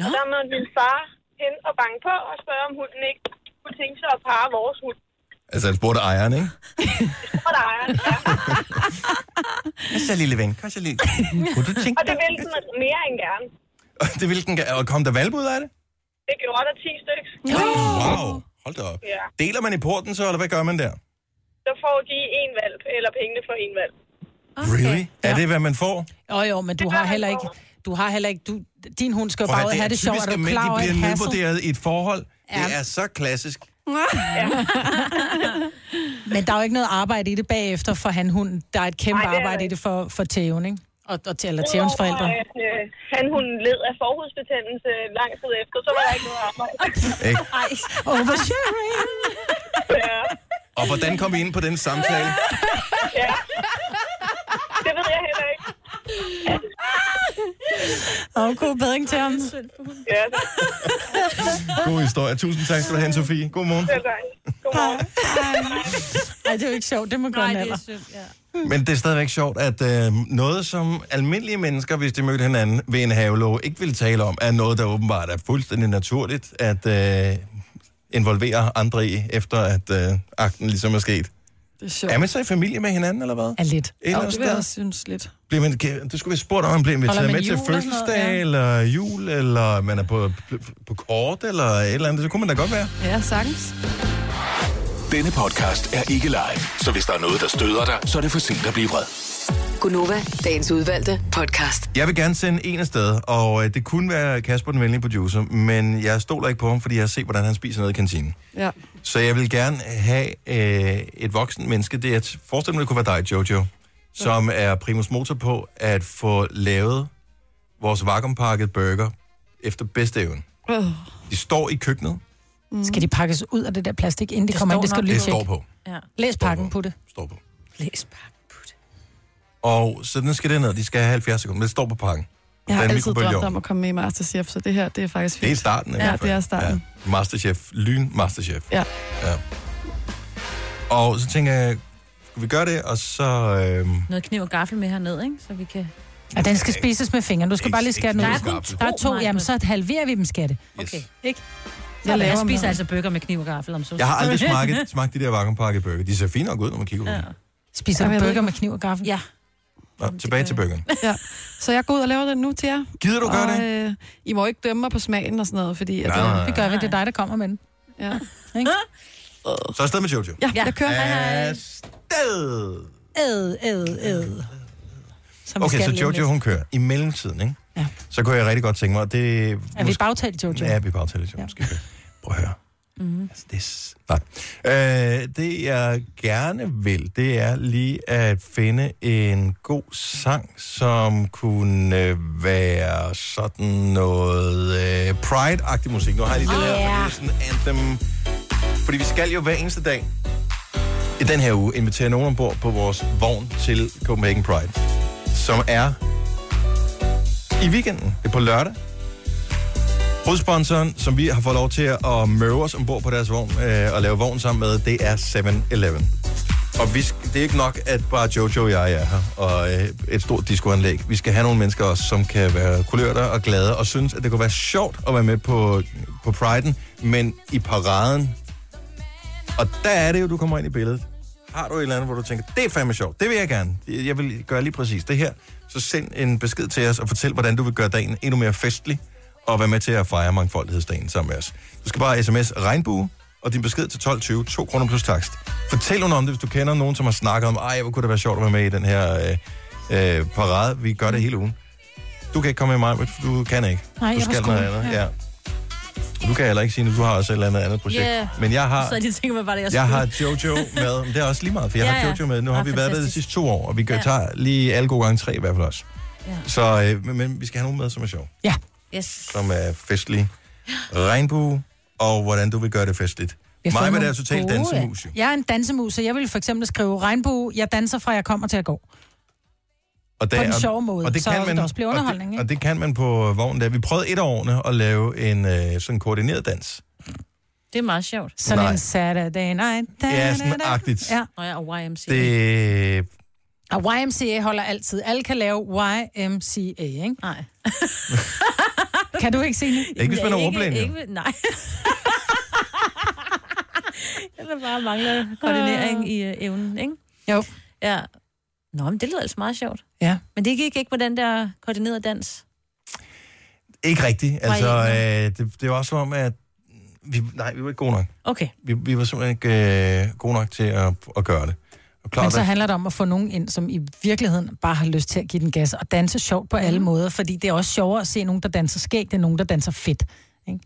Og der måtte min far hen og banke på og spørge, om hunden ikke kunne tænke sig at parre vores hund. Altså, han spurgte ejeren, ikke? Og der er han. Ja. Kom så, lille ven. Kom så, lille. Kunne du tænke Og det ville den mere end gerne. dig? Det ville den gerne. Og kom der valp ud af det? Det gjorde der 10 stykker. Wow. Hold da op. Ja. Deler man i porten så, eller hvad gør man der? Så får de en valp, eller pengene for en valp. Really? Er det, hvad man får? Jo, jo, men du Det har gør heller man ikke... Du har heller ikke... Du, din hund skal jo Prøv at bare ud høre, og have det sjovt, typisk, og du at er mænd, klar de over bliver et hassel. nedvurderet i et forhold. Ja. Det er så klassisk. Men der er jo ikke noget arbejde i det bagefter for han hunden. Der er et kæmpe Nej, Ej, det er der arbejde i ikke. det for, for tæven, ikke? Og, og til, eller tævens forældre. Udover, at, øh, Han hun led af forhudsbetændelse lang tid efter, så var der ikke noget arbejde. Ikke? Oversharing! Ja, Og hvordan kom vi ind på den samtale? ja. Det ved jeg heller ikke. Og god bedring til ham. Ja, det God historie. Tusind tak skal du have, Sofie. God morgen. er dejligt. Godmorgen. Ej, det er jo ikke sjovt. Det må gå en Nej, det er alder. synd, ja. Men det er stadigvæk sjovt, at øh, noget, som almindelige mennesker, hvis de mødte hinanden ved en havelov, ikke ville tale om, er noget, der åbenbart er fuldstændig naturligt at øh, involvere andre i, efter at øh, akten ligesom er sket. Det er sjovt. Er man så i familie med hinanden, eller hvad? Er lidt. Et eller Jo, andet det vil jeg sted? også synes lidt. Bliver man, kan- du skulle være spurgt, om man bliver inviteret man med til jul og sådan noget, fødselsdag, ja. eller jul, eller man er på, på kort, eller et eller andet. Så kunne man da godt være. Ja, sagtens. Denne podcast er ikke live, så hvis der er noget, der støder dig, så er det for sent at blive vred. Gunova, dagens udvalgte podcast. Jeg vil gerne sende en afsted, og øh, det kunne være Kasper, den venlige producer, men jeg stoler ikke på ham, fordi jeg har set, hvordan han spiser noget i kantinen. Ja. Så jeg vil gerne have øh, et voksen menneske, det er, at- forestil mig, det kunne være dig, Jojo, som er primus motor på at få lavet vores vakuumpakket burger efter bedste evne. Øh. De står i køkkenet, Skal de pakkes ud af det der plastik, inden det Det kommer ind? står Det skal nok. du lige det står tjekke. på. ja. Læs pakken på det. Står på. Læs bare. Putte. Og så den skal det ned, de skal have 70 sekunder, men det står på pakken. Jeg har Den altid mikrobølgeovn. drømt om at komme med i Masterchef, så det her, det er faktisk Det er fint. starten. i Ja, hvert fald. det er starten. Ja. Masterchef. Lyn Masterchef. Ja. ja. Og så tænker jeg, skal vi gøre det, og så... Øh, Noget kniv og gaffel med hernede, ikke? Så vi kan... Og den skal spises med fingrene. Du skal Ikke- bare lige skære den ud. ikke Der med skarpt. er to, jamen så halverer vi dem, skatte. yes. okay. Ikke? Jeg Jeg, laver jeg dem spiser her. altså bøger med kniv og gaffel om så. Jeg har aldrig *laughs* smagt, smagt de der vakuumpakket burger. De ser fine nok ud, når man kigger på ja. dem. Spiser Jamen, du jeg ved burger ikke, med kniv og gaffel? Ja. Nå, tilbage til burgeren. Ja. Så jeg går ud og laver den nu til jer. Gider du gøre og, det? Øh, I må ikke dømme mig på smagen og sådan noget, fordi... At, Nej, øh, nej, Det nej. gør vi. Det er dig, der kommer med den. Ja. Så afsted med Jojo. ja, jeg kører. Hej, hej. Afsted! Æd, æd, æd. Som vi Okay, skal så lige om Jojo, lidt. hun kører. I mellemtiden, ikke? Ja. Så kunne jeg rigtig godt tænke mig, at det... Er vi bagtalt, Jojo? Ja, vi bagtaler Jojo. Ja. Ja. Prøv at høre. Mm-hmm. Altså, det er... s- Nej. Øh, det jeg gerne vil, det er lige at finde en god sang, som kunne øh, være sådan noget øh, Pride-agtig musik. Nu har jeg lige det oh, her, yeah. fordi det er sådan anthem. Fordi vi skal jo hver eneste dag i den her uge invitere nogen ombord på vores vogn til Copenhagen Pride, som er i weekenden. Det er på lørdag. Hovedsponsoren, som vi har fået lov til at møve os ombord på deres vogn øh, og lave vogn sammen med, det er 7-Eleven. Og vi sk- det er ikke nok, at bare Jojo og jeg er her, og øh, et stort discoanlæg. Vi skal have nogle mennesker også, som kan være kulørter og glade, og synes, at det kunne være sjovt at være med på, på Pride'en, men i paraden. Og der er det jo, du kommer ind i billedet. har du et eller andet, hvor du tænker, det er fandme sjovt, det vil jeg gerne, jeg vil gøre lige præcis det her, så send en besked til os og fortæl, hvordan du vil gøre dagen endnu mere festlig, og vær med til at fejre mangfoldighedsdagen sammen med os. Du skal bare sms regnbue, og din besked til 12.20, 2 kroner plus takst. Fortæl nogen om det, hvis du kender nogen, som har snakket om, ej, hvor kunne det være sjovt at være med i den her øh, øh, parade, vi gør det hele ugen. Du kan ikke komme med mig, for du kan ikke. Nej, jeg du er på skal skole, noget andet. ja. Ja. Du kan heller ikke sige, at du har også et eller andet andet projekt. Ja. Men jeg har... Så de tænker, hvad var det, jeg Jeg skulle? har Jojo med. Men Det er også lige meget, for jeg Ja, ja, har ja. Jojo med. Nu har Ah, vi været der de fantastisk. sidste to år, og vi gør, Ja. tager lige alle gode gange tre i hvert fald også. Ja. Så, øh, men, men vi skal have nogen med, som er sjov, Ja. Yes. som er festlige. Regnbue, og hvordan du vil gøre det festligt. har Mig fået med det er nogle totalt gode- dansemus, jo. Jeg er en dansemus, så jeg ville for eksempel skrive regnbue, jeg danser fra jeg kommer til at gå. Og der, På den sjove måde, så der også bliver underholdning, og det, ikke? og det kan man på vognen der. Vi prøvede et af årene at lave en øh, sådan koordineret dans. Det er meget sjovt. Sådan Nej. Nej. en Saturday night. Da, Ja, da, sådan da. agtigt. Ja. Nå ja, og YMCA. Det, Og YMCA holder altid. Alle kan lave YMCA, ikke? Nej. Kan du ikke se det? ikke hvis man er ordblind, jo. ikke, ikke, Nej. *laughs* Eller bare mangler koordinering i øh, evnen, ikke? Jo. Ja. Nå, men det lyder altså meget sjovt. Ja. Men det gik ikke med den der koordinerede dans. ikke rigtigt. Altså, Var I øh, det, det var også som om, at vi, nej, vi var ikke gode nok. Okay. vi, vi var simpelthen ikke øh, gode nok til at, at gøre det. Og klart, Men så at- handler det om at få nogen ind, som i virkeligheden bare har lyst til at give den gas og danse sjovt på alle måder, fordi det er også sjovere at se nogen, der danser skægt, end nogen, der danser fedt. Ikke?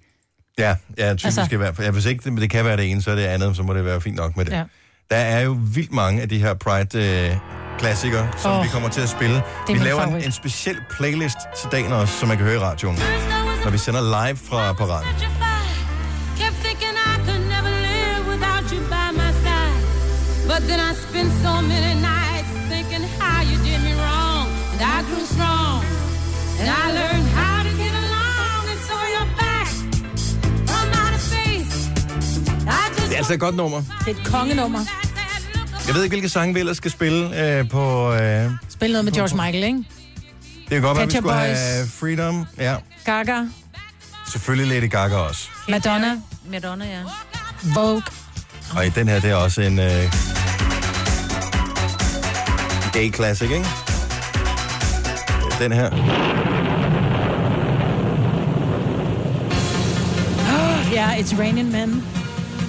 Ja, ja typisk altså... Altså- i hvert fald. Ja, hvis ikke det, det kan være det ene, så er det andet, så må det være fint nok med det. Ja. Ja. Der er jo vildt mange af de her Pride-klassikere, som Åh, vi kommer til at spille. Vi min laver en, favorit. en speciel playlist til dagen også, som man kan høre i radioen, når vi sender live fra paraden. Kept thinking I could never live without you by my side. But then I spent so many nights thinking how you did me wrong. And I grew strong. And I learned how to get along. And so you're back from outer space. I just Det er altså et godt nummer. Det er et kongenummer. Jeg ved ikke, hvilke sange vi ellers skal spille øh, på... Øh, det Spil noget med George Michael, ikke? kan godt være, vi Pet Shop skulle Boys. have Freedom. Ja, Gaga, selvfølgelig Lady Gaga også. Madonna, Madonna, ja. Vogue. Og i den her, det er også en øh, gay classic, ikke? Den her. Ja, It's Raining Men.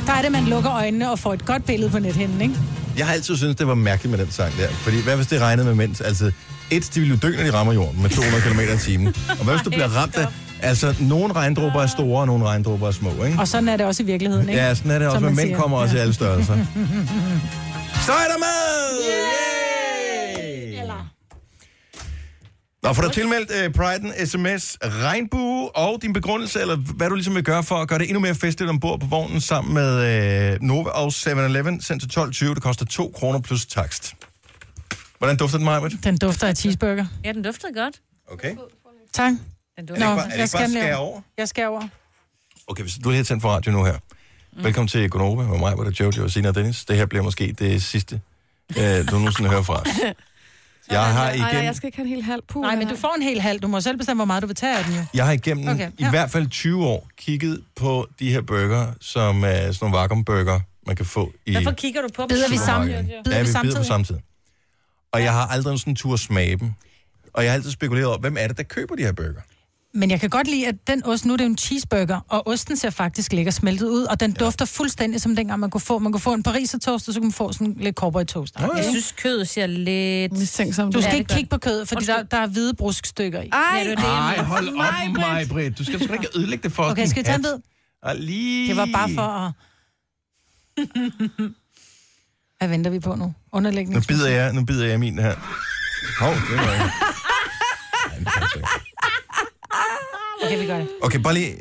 Der er det, man lukker øjnene og får et godt billede på nethinden, ikke? Jeg har altid syntes, det var mærkeligt med den sang der. Fordi hvad hvis det regnede med mens? Altså, et, de ville jo dø, når de rammer jorden med 200 km i timen. Og hvad hvis du bliver ramt af... Altså, nogle regndråber er store, og nogle regndråber er små, ikke? Og sådan er det også i virkeligheden, ikke? Ja, sådan er det også, Som men man mænd siger. kommer også i alle *laughs* størrelser. Så er der med! Yay! Nå, får du tilmeldt uh, Pride'en, sms, regnbue og din begrundelse, eller hvad du ligesom vil gøre for at gøre det endnu mere festligt ombord på vognen sammen med uh, Nova og 7-Eleven, sendt til 12.20. Det koster 2 kroner plus takst. Hvordan dufter den, Maja? Den dufter af cheeseburger. Ja, den duftede godt. Okay. Tak. Den Er det duftede ikke Nå, bare, er det jeg ikke skal bare den skære lave. over? Jeg skal over. Okay, hvis du lige har tændt for radio nu her. Mm. Velkommen til Gonova med mig, hvor der Jojo og Sina og Dennis. Det her bliver måske det sidste, øh, du nogensinde hører *laughs* fra os. Jeg har Ej, nej, igen... jeg skal ikke have en hel halv puh. Nej, men du får en hel halv. Du må selv bestemme, hvor meget du vil tage af den, jo. Jeg har igennem okay, Okay, ja. i ja. hvert fald 20 år kigget på de her burger, som er sådan nogle vakuumburger, man kan få i Hvorfor kigger du på dem? Bider vi sammen? supermarkedet. Bider ja, vi vi bider på samtidig? samtidig. Og jeg har aldrig sådan en tur at smage dem. Og jeg har altid spekuleret over, hvem er det, der køber de her burger? Men jeg kan godt lide, at den ost, nu er det jo en cheeseburger, og osten ser faktisk lækker smeltet ud, og den ja. dufter fuldstændig som dengang, man kunne få. Man kunne få en pariser toast, og så kunne man få sådan lidt cowboy toast. Nå, Jeg synes, kødet ser lidt... Mistænksom. Du skal Ja, ikke det gør kigge på kødet, fordi der, der er hvide bruskstykker i. Ej, Ja, det er det. Ej, hold op, mig, Britt. Du skal sgu da ikke ødelægge det for Okay, din skal vi tage en hat. bid? Og lige... Det var bare for *laughs* at... Hvad venter vi på nu? Nu Underlægning. bider jeg, nu bider jeg min her. Hov, det var ikke. Nej, det passer ikke. Okay, vi gør det. Okay, bare lige...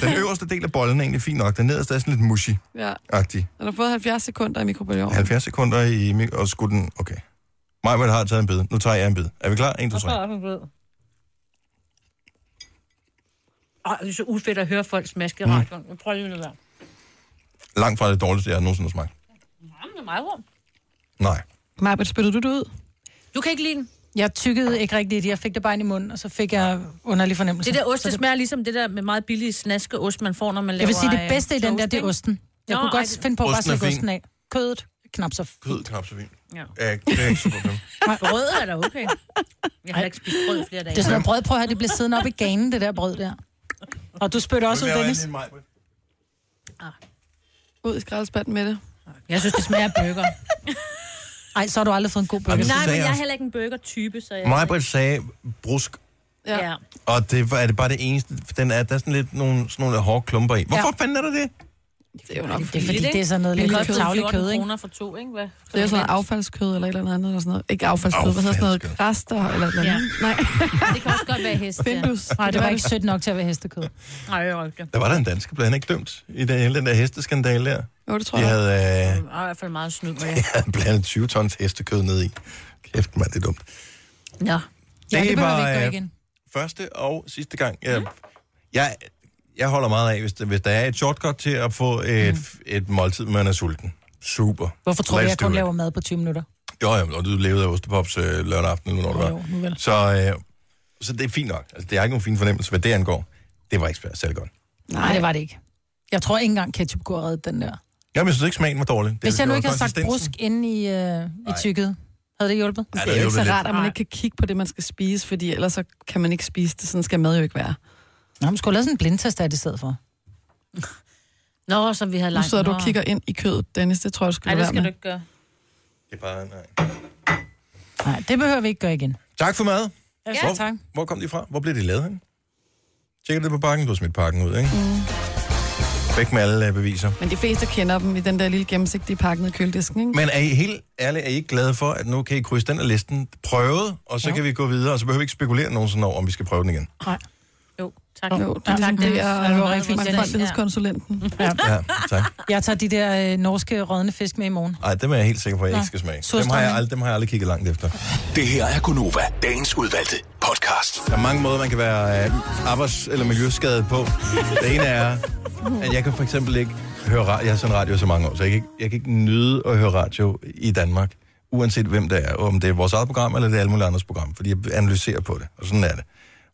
Den øverste del af bollen er egentlig fin nok. Den nederste er sådan lidt mushy-agtig. Ja. Den har fået 70 sekunder i mikrobølgeovnen. 70 sekunder i... mik- Og skulle den... Okay. Majbert har taget en bid. Nu tager jeg en bid. Er vi klar? 1, 2, 3. Ej, det er så ufedt at høre folk smaske i radioen. Jeg prøver Mm. lige at lade være. Langt fra det dårligste, jeg har nogensinde smagt. Jamen, det er meget rum. Nej. Marbet, spyttede du det ud? Du kan ikke lide den. Jeg tykkede ikke rigtigt. Jeg fik det bare ind i munden, og så fik jeg underlig fornemmelse. Det der ost, det smager ligesom det der med meget billige snaskeost, man får, når man laver Jeg vil sige, det øh, bedste i den der, toast, det er ikke? osten. Jeg Nå, kunne ej, godt det- finde på at bare Osten er slikke fin. osten af. Kødet. knap så Kød, fint. knap så fint. Ja. Ja, det er ikke super problem. Brød er da okay. Jeg har ikke spist brød i flere dage. Det er sådan noget brød, prøv at høre, det bliver siddende op i ganen, det der brød der. Og du spytter også ud, Dennis. Ud i skraldespanden med det. Jeg synes, det smager af burger. Ej, så har du aldrig fået en god burger. Jamen, Nej, men sagde jeg er også- heller ikke en burger-type, så jeg... Majbrit sagde brusk, Ja. og det var, er det bare det eneste. Den er, der er sådan lidt nogle, sådan nogle hårde klumper i. Hvorfor fanden er der det? Det er jo nok Det er fordi, fordi, det er sådan noget lidt Det kød, kostede tavlig 14 kød, ikke? kroner for to, ikke? Hvad? det er jo sådan noget affaldskød eller et eller andet eller sådan noget. Ikke affaldskød, hvad hedder sådan noget? Rester eller et eller andet. Nej, *laughs* Det kan også godt være hest. Ja. Findus. Nej, det var ikke sødt nok til at være hestekød. Nej, jeg var ikke. Der var der en dansker, blev han ikke dømt i den, hele den der hesteskandale der. Jo, det tror De jeg. havde øh, *laughs* Jeg var i hvert fald meget snyd med det. han blandet 20 tons hestekød ned i. Kæft, mand, det er dumt. Nå. Ja, det behøver vi var, ikke gøre øh, igen. første og sidste gang. Jeg, Mhm. mm. jeg, jeg holder meget af, hvis, der- hvis der er et shortcut til at få et, Mhm. mm. et måltid, man er sulten. Super. Hvorfor tror du, Let's jeg do kun it. laver mad på 20 minutter? Jo, jo, og du levede af Ostepops øh, lørdag aften, eller hvornår det Jo, var. nu vel. Så, øh, så det er fint nok. Altså, det er ikke nogen fin fornemmelse, hvad det angår. Det var ikke svært, særlig godt. Nej, det var det ikke. Jeg tror ikke engang ketchup kunne have reddet den der. Jamen, jeg synes ikke, smagen var dårlig. Det, Hvis jeg nu det var ikke havde sagt brusk konsistensen. inde i, øh, i tykket, havde det hjulpet? Ja, Det er jo ikke så lidt. rart, at man ikke kan kigge på det, man skal spise, fordi ellers så kan man ikke spise det. Sådan skal mad jo ikke være. Nå, man skulle have lavet sådan en blindtest af det i stedet for. Nå, som vi havde Nu langt. sidder du og Nå. kigger ind i kødet, Dennis. Det tror jeg, du skal Nej, det skal du lade være med. ikke gøre. Det er bare, nej. Nej, det behøver vi ikke gøre igen. Tak for mad. Ja, hvor, tak. Hvor kom de fra? Hvor blev de lavet hen? Tjekker det på pakken? Du har smidt pakken ud, ikke? Mm. Væk med alle øh, beviser. Men de fleste kender dem i den der lille gennemsigtige pakke ned i køledisken, ikke? Men er I helt ærlige, er I ikke glade for, at nu kan I krydse den af listen prøvet, og så ja. kan vi gå videre, og så behøver vi ikke spekulere nogensinde over, om vi skal prøve den igen. Nej. Jo, tak. Jo, det Ja, er ligesom tak, det, Dennis. og Ja, det var rigtig fint, Dennis. *laughs* mangfoldighedskonsulenten. Ja, tak. Jeg tager de der øh, norske rådne fisk med i morgen. Ej, dem er jeg helt sikker på, at jeg ikke skal smage. Dem har jeg, Surstrømning. aldrig, dem har jeg aldrig kigget langt efter. Det her er Gunova, dagens udvalgte podcast. Der er mange måder, man kan være øh, arbejds- eller miljøskadet på. Det ene er, at jeg kan for eksempel ikke høre radio. Jeg har sendt radio i så mange år, så jeg kan, ikke, jeg kan ikke nyde at høre radio i Danmark, uanset hvem det er. Om det er vores eget program, eller det er alle mulige andres program, fordi jeg analyserer på det, og sådan er det.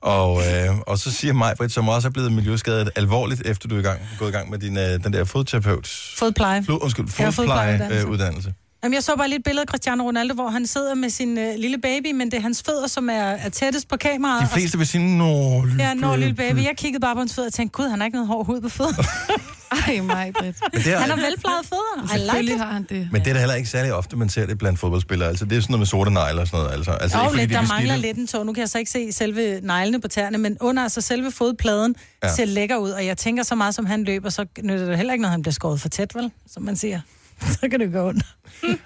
Og, øh, og så siger mig, Britt, som også er blevet miljøskadet alvorligt, efter du er i gang, gået i gang med din, øh, den der fodterapeut... Fodpleje. Flo, undskyld, Ja, fodplejeuddannelse. fodplejeuddannelse. Øh, uddannelse. Jamen, jeg så bare lige et billede af Cristiano Ronaldo, hvor han sidder med sin øh, lille baby, men det er hans fødder, som er, er tættest på kameraet. De og- fleste vil sige, nå, lille Ja, når lille baby." baby. Jeg kiggede bare på hans fødder og tænkte, gud, han har ikke noget hård hud på fødderne. Ej, mig, Britt. Men det er- Han har velplejede fødder. I like Selvfølgelig it. har han det. Men det er da heller ikke særlig ofte, man ser det blandt fodboldspillere. Altså, det er sådan noget med sorte negler og sådan noget. Altså, altså, Jo, fordi lidt, de der vil mangler snille. lidt en tog. Nu kan jeg så ikke se selve neglene på tæerne, men under altså selve fodpladen Ja. ja. ser lækker ud. Og jeg tænker så meget, som han løber, så nytter det heller ikke, når han bliver skåret for tæt, vel? Som man siger. *laughs* Så kan det gå under.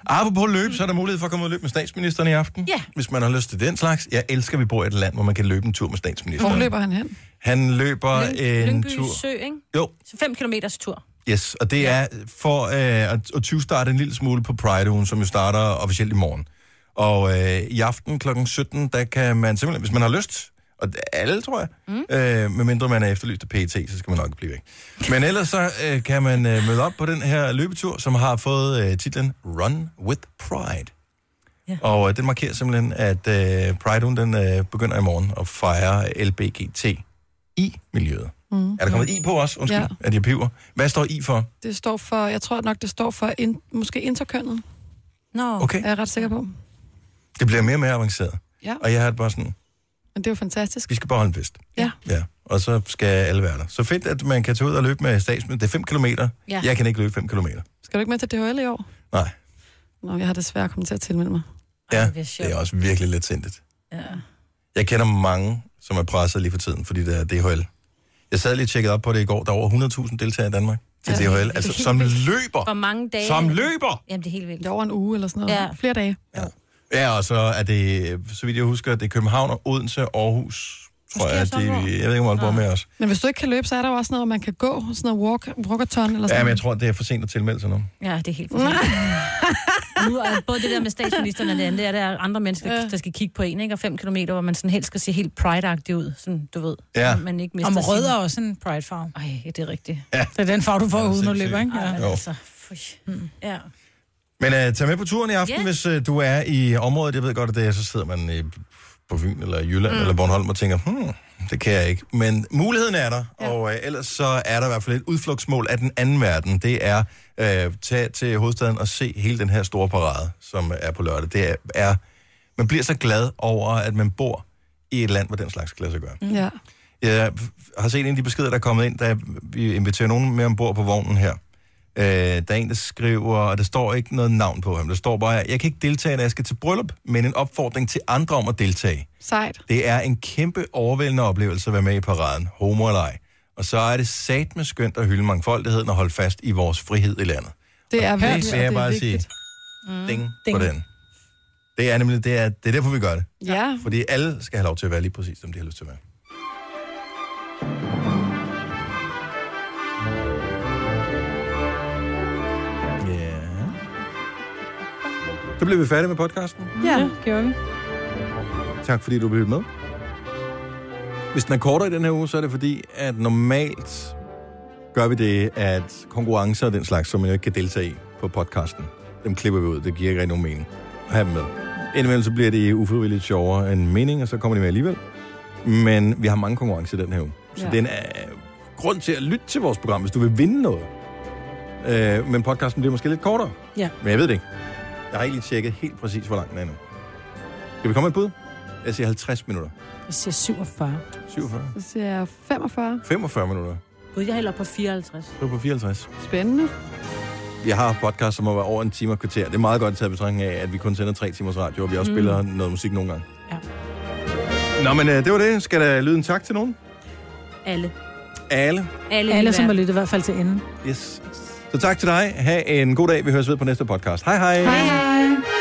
Apropos løb, så er der mulighed for at komme ud og løbe med statsministeren i aften. Ja. Hvis man har lyst til den slags. Jeg elsker, at vi bor i et land, hvor man kan løbe en tur med Hvor statsministeren. løber han hen? Han løber en Lyngby tur. Sø, ikke? Jo, Så 5 kilometers tur. yes. Og det er for øh, at- at 20 starte en lille smule på Pride-ugen, som jo starter officielt i morgen. Og øh, i aften kl. 17, der kan man simpelthen, hvis man har lyst, og det er alle, tror jeg, mm. øh, medmindre man er efterlyst af PET, så skal man nok ikke blive væk. Men ellers så øh, kan man øh, møde op på den her løbetur, som har fået øh, titlen Run with Pride. Ja. Og øh, den markerer simpelthen, at øh, Pride den øh, begynder i morgen at fejre LBGT i miljøet. Mm. Er der kommet I på os? Undskyld, Ja. at jeg piver. Hvad står I for? Det står for, jeg tror nok, det står for in, måske interkønnet, Nå, okay. Okay, er jeg ret sikker på. det bliver mere og mere avanceret. Ja, Og jeg har det bare sådan, men det er jo fantastisk. vi skal bare holde en fest. Ja. Ja, og så skal alle være der. Så fedt, at man kan tage ud og løbe med statsminister. Det er 5 km. Ja. Ja. Jeg kan ikke løbe 5 km. Skal du ikke med til DHL i år? Nej, Nå, jeg har desværre kommet til at tilmelde mig. ja, bliver det sjovt. er også virkelig lidt sindigt. Ja. Jeg kender mange, som er presset lige for tiden, fordi det er DHL. Jeg sad lige og tjekkede op på det i går. Der er over 100.000 deltagere i Danmark til Ja. DHL. Altså, som Hvor løber. mange dage... Som løber! Jamen, det er helt vildt. Det er over en uge eller sådan noget. Ja. Flere dage. Ja, og så er det, så vidt jeg husker, det er København og Odense Aarhus. Tror Måske jeg, også det, jeg Aalborg. ved ikke, om Aalborg er med os. Men hvis du ikke kan løbe, så er der jo også noget, man kan gå. Sådan noget walk, walkathon Ja, eller sådan men jeg noget. tror, det er for sent at tilmelde sig nu. Ja, det er helt forfærdeligt. nu er både det der med statsministeren og det andet, det er, at der er andre mennesker, der skal kigge på en, ikke? Og 5 kilometer, hvor man sådan helst skal se helt pride ud, sådan, du ved. Ja. Så Man ikke mister Om rød sin- er også en pride farve. Ej, ja, det er rigtigt. Det er den farve, du får Ja, uden at sindssygt. løbe, ikke? Ja. Jo. Altså, fy. Ja. Men uh, tag med på turen i aften, yeah. Ja. hvis uh, du er i området. Jeg ved godt, at det er, så sidder man uh, på Fyn eller Jylland mm. eller Bornholm og tænker, hmm, det kan jeg ikke. Men muligheden er der, ja. Ja. og øh, ellers så er der i hvert fald et udflugtsmål af den anden verden. Det er øh, tag til hovedstaden og se hele den her store parade, som er på lørdag. Det er, er man bliver så glad over, at man bor i et land, hvor den slags kan lade sig gøre. Ja. Jeg har set en af de beskeder, der er kommet ind, da vi inviterer nogen med ombord på vognen her. Øh, der er en, der skriver, og der står ikke noget navn på ham. Der står bare, jeg kan ikke deltage, når jeg skal til bryllup, men en opfordring til andre om at deltage. Sejt. Det er en kæmpe overvældende oplevelse at være med i paraden, homo eller ej. Og så er det sat med skønt at hylde mangfoldigheden og holde fast i vores frihed i landet. Det er virkelig, det og vil jeg er bare sige. vigtigt. Ding, Ding. Ding. på den. Det er nemlig det er, det er derfor, vi gør det. Ja. Fordi alle skal have lov til at være lige præcis, som de har lyst til at være. Ja. Så blev vi færdige med podcasten. Ja, gjorde vi. Tak fordi du blev med. Hvis den er kortere i den her uge, så er det fordi, at normalt gør vi det, at konkurrencer og den slags, som man jo ikke kan deltage i på podcasten, dem klipper vi ud. Det giver ikke rigtig nogen mening at have dem med. Indimellem så bliver det ufrivilligt sjovere end mening, og så kommer de med alligevel. Men vi har mange konkurrencer i den her uge. Så ja. Ja. den er øh, grund til at lytte til vores program, hvis du vil vinde noget. Øh, men podcasten bliver måske lidt kortere. Ja. Men jeg ved det ikke. Jeg har ikke lige tjekket helt præcis, hvor lang den er nu. Skal vi komme med et bud? Jeg siger 50 minutter. Jeg siger 47. 47. Så siger jeg 45. 45 minutter. Gud, jeg hælder på 54. Så er vi på 54. Spændende. Jeg har podcast, som må være over en time og kvarter. Det er meget godt taget i betragtning af, at vi kun sender tre timers radio, og vi også mm. spiller noget musik nogle gange. Ja. Nå, men øh, det var det. Skal der lyde en tak til nogen? Alle. Alle. Alle, Alle, i som har verden. lyttet i hvert fald til enden. Yes. Så tak til dig. Ha' en god dag. Vi høres ved på næste podcast. Hej hej. Hej.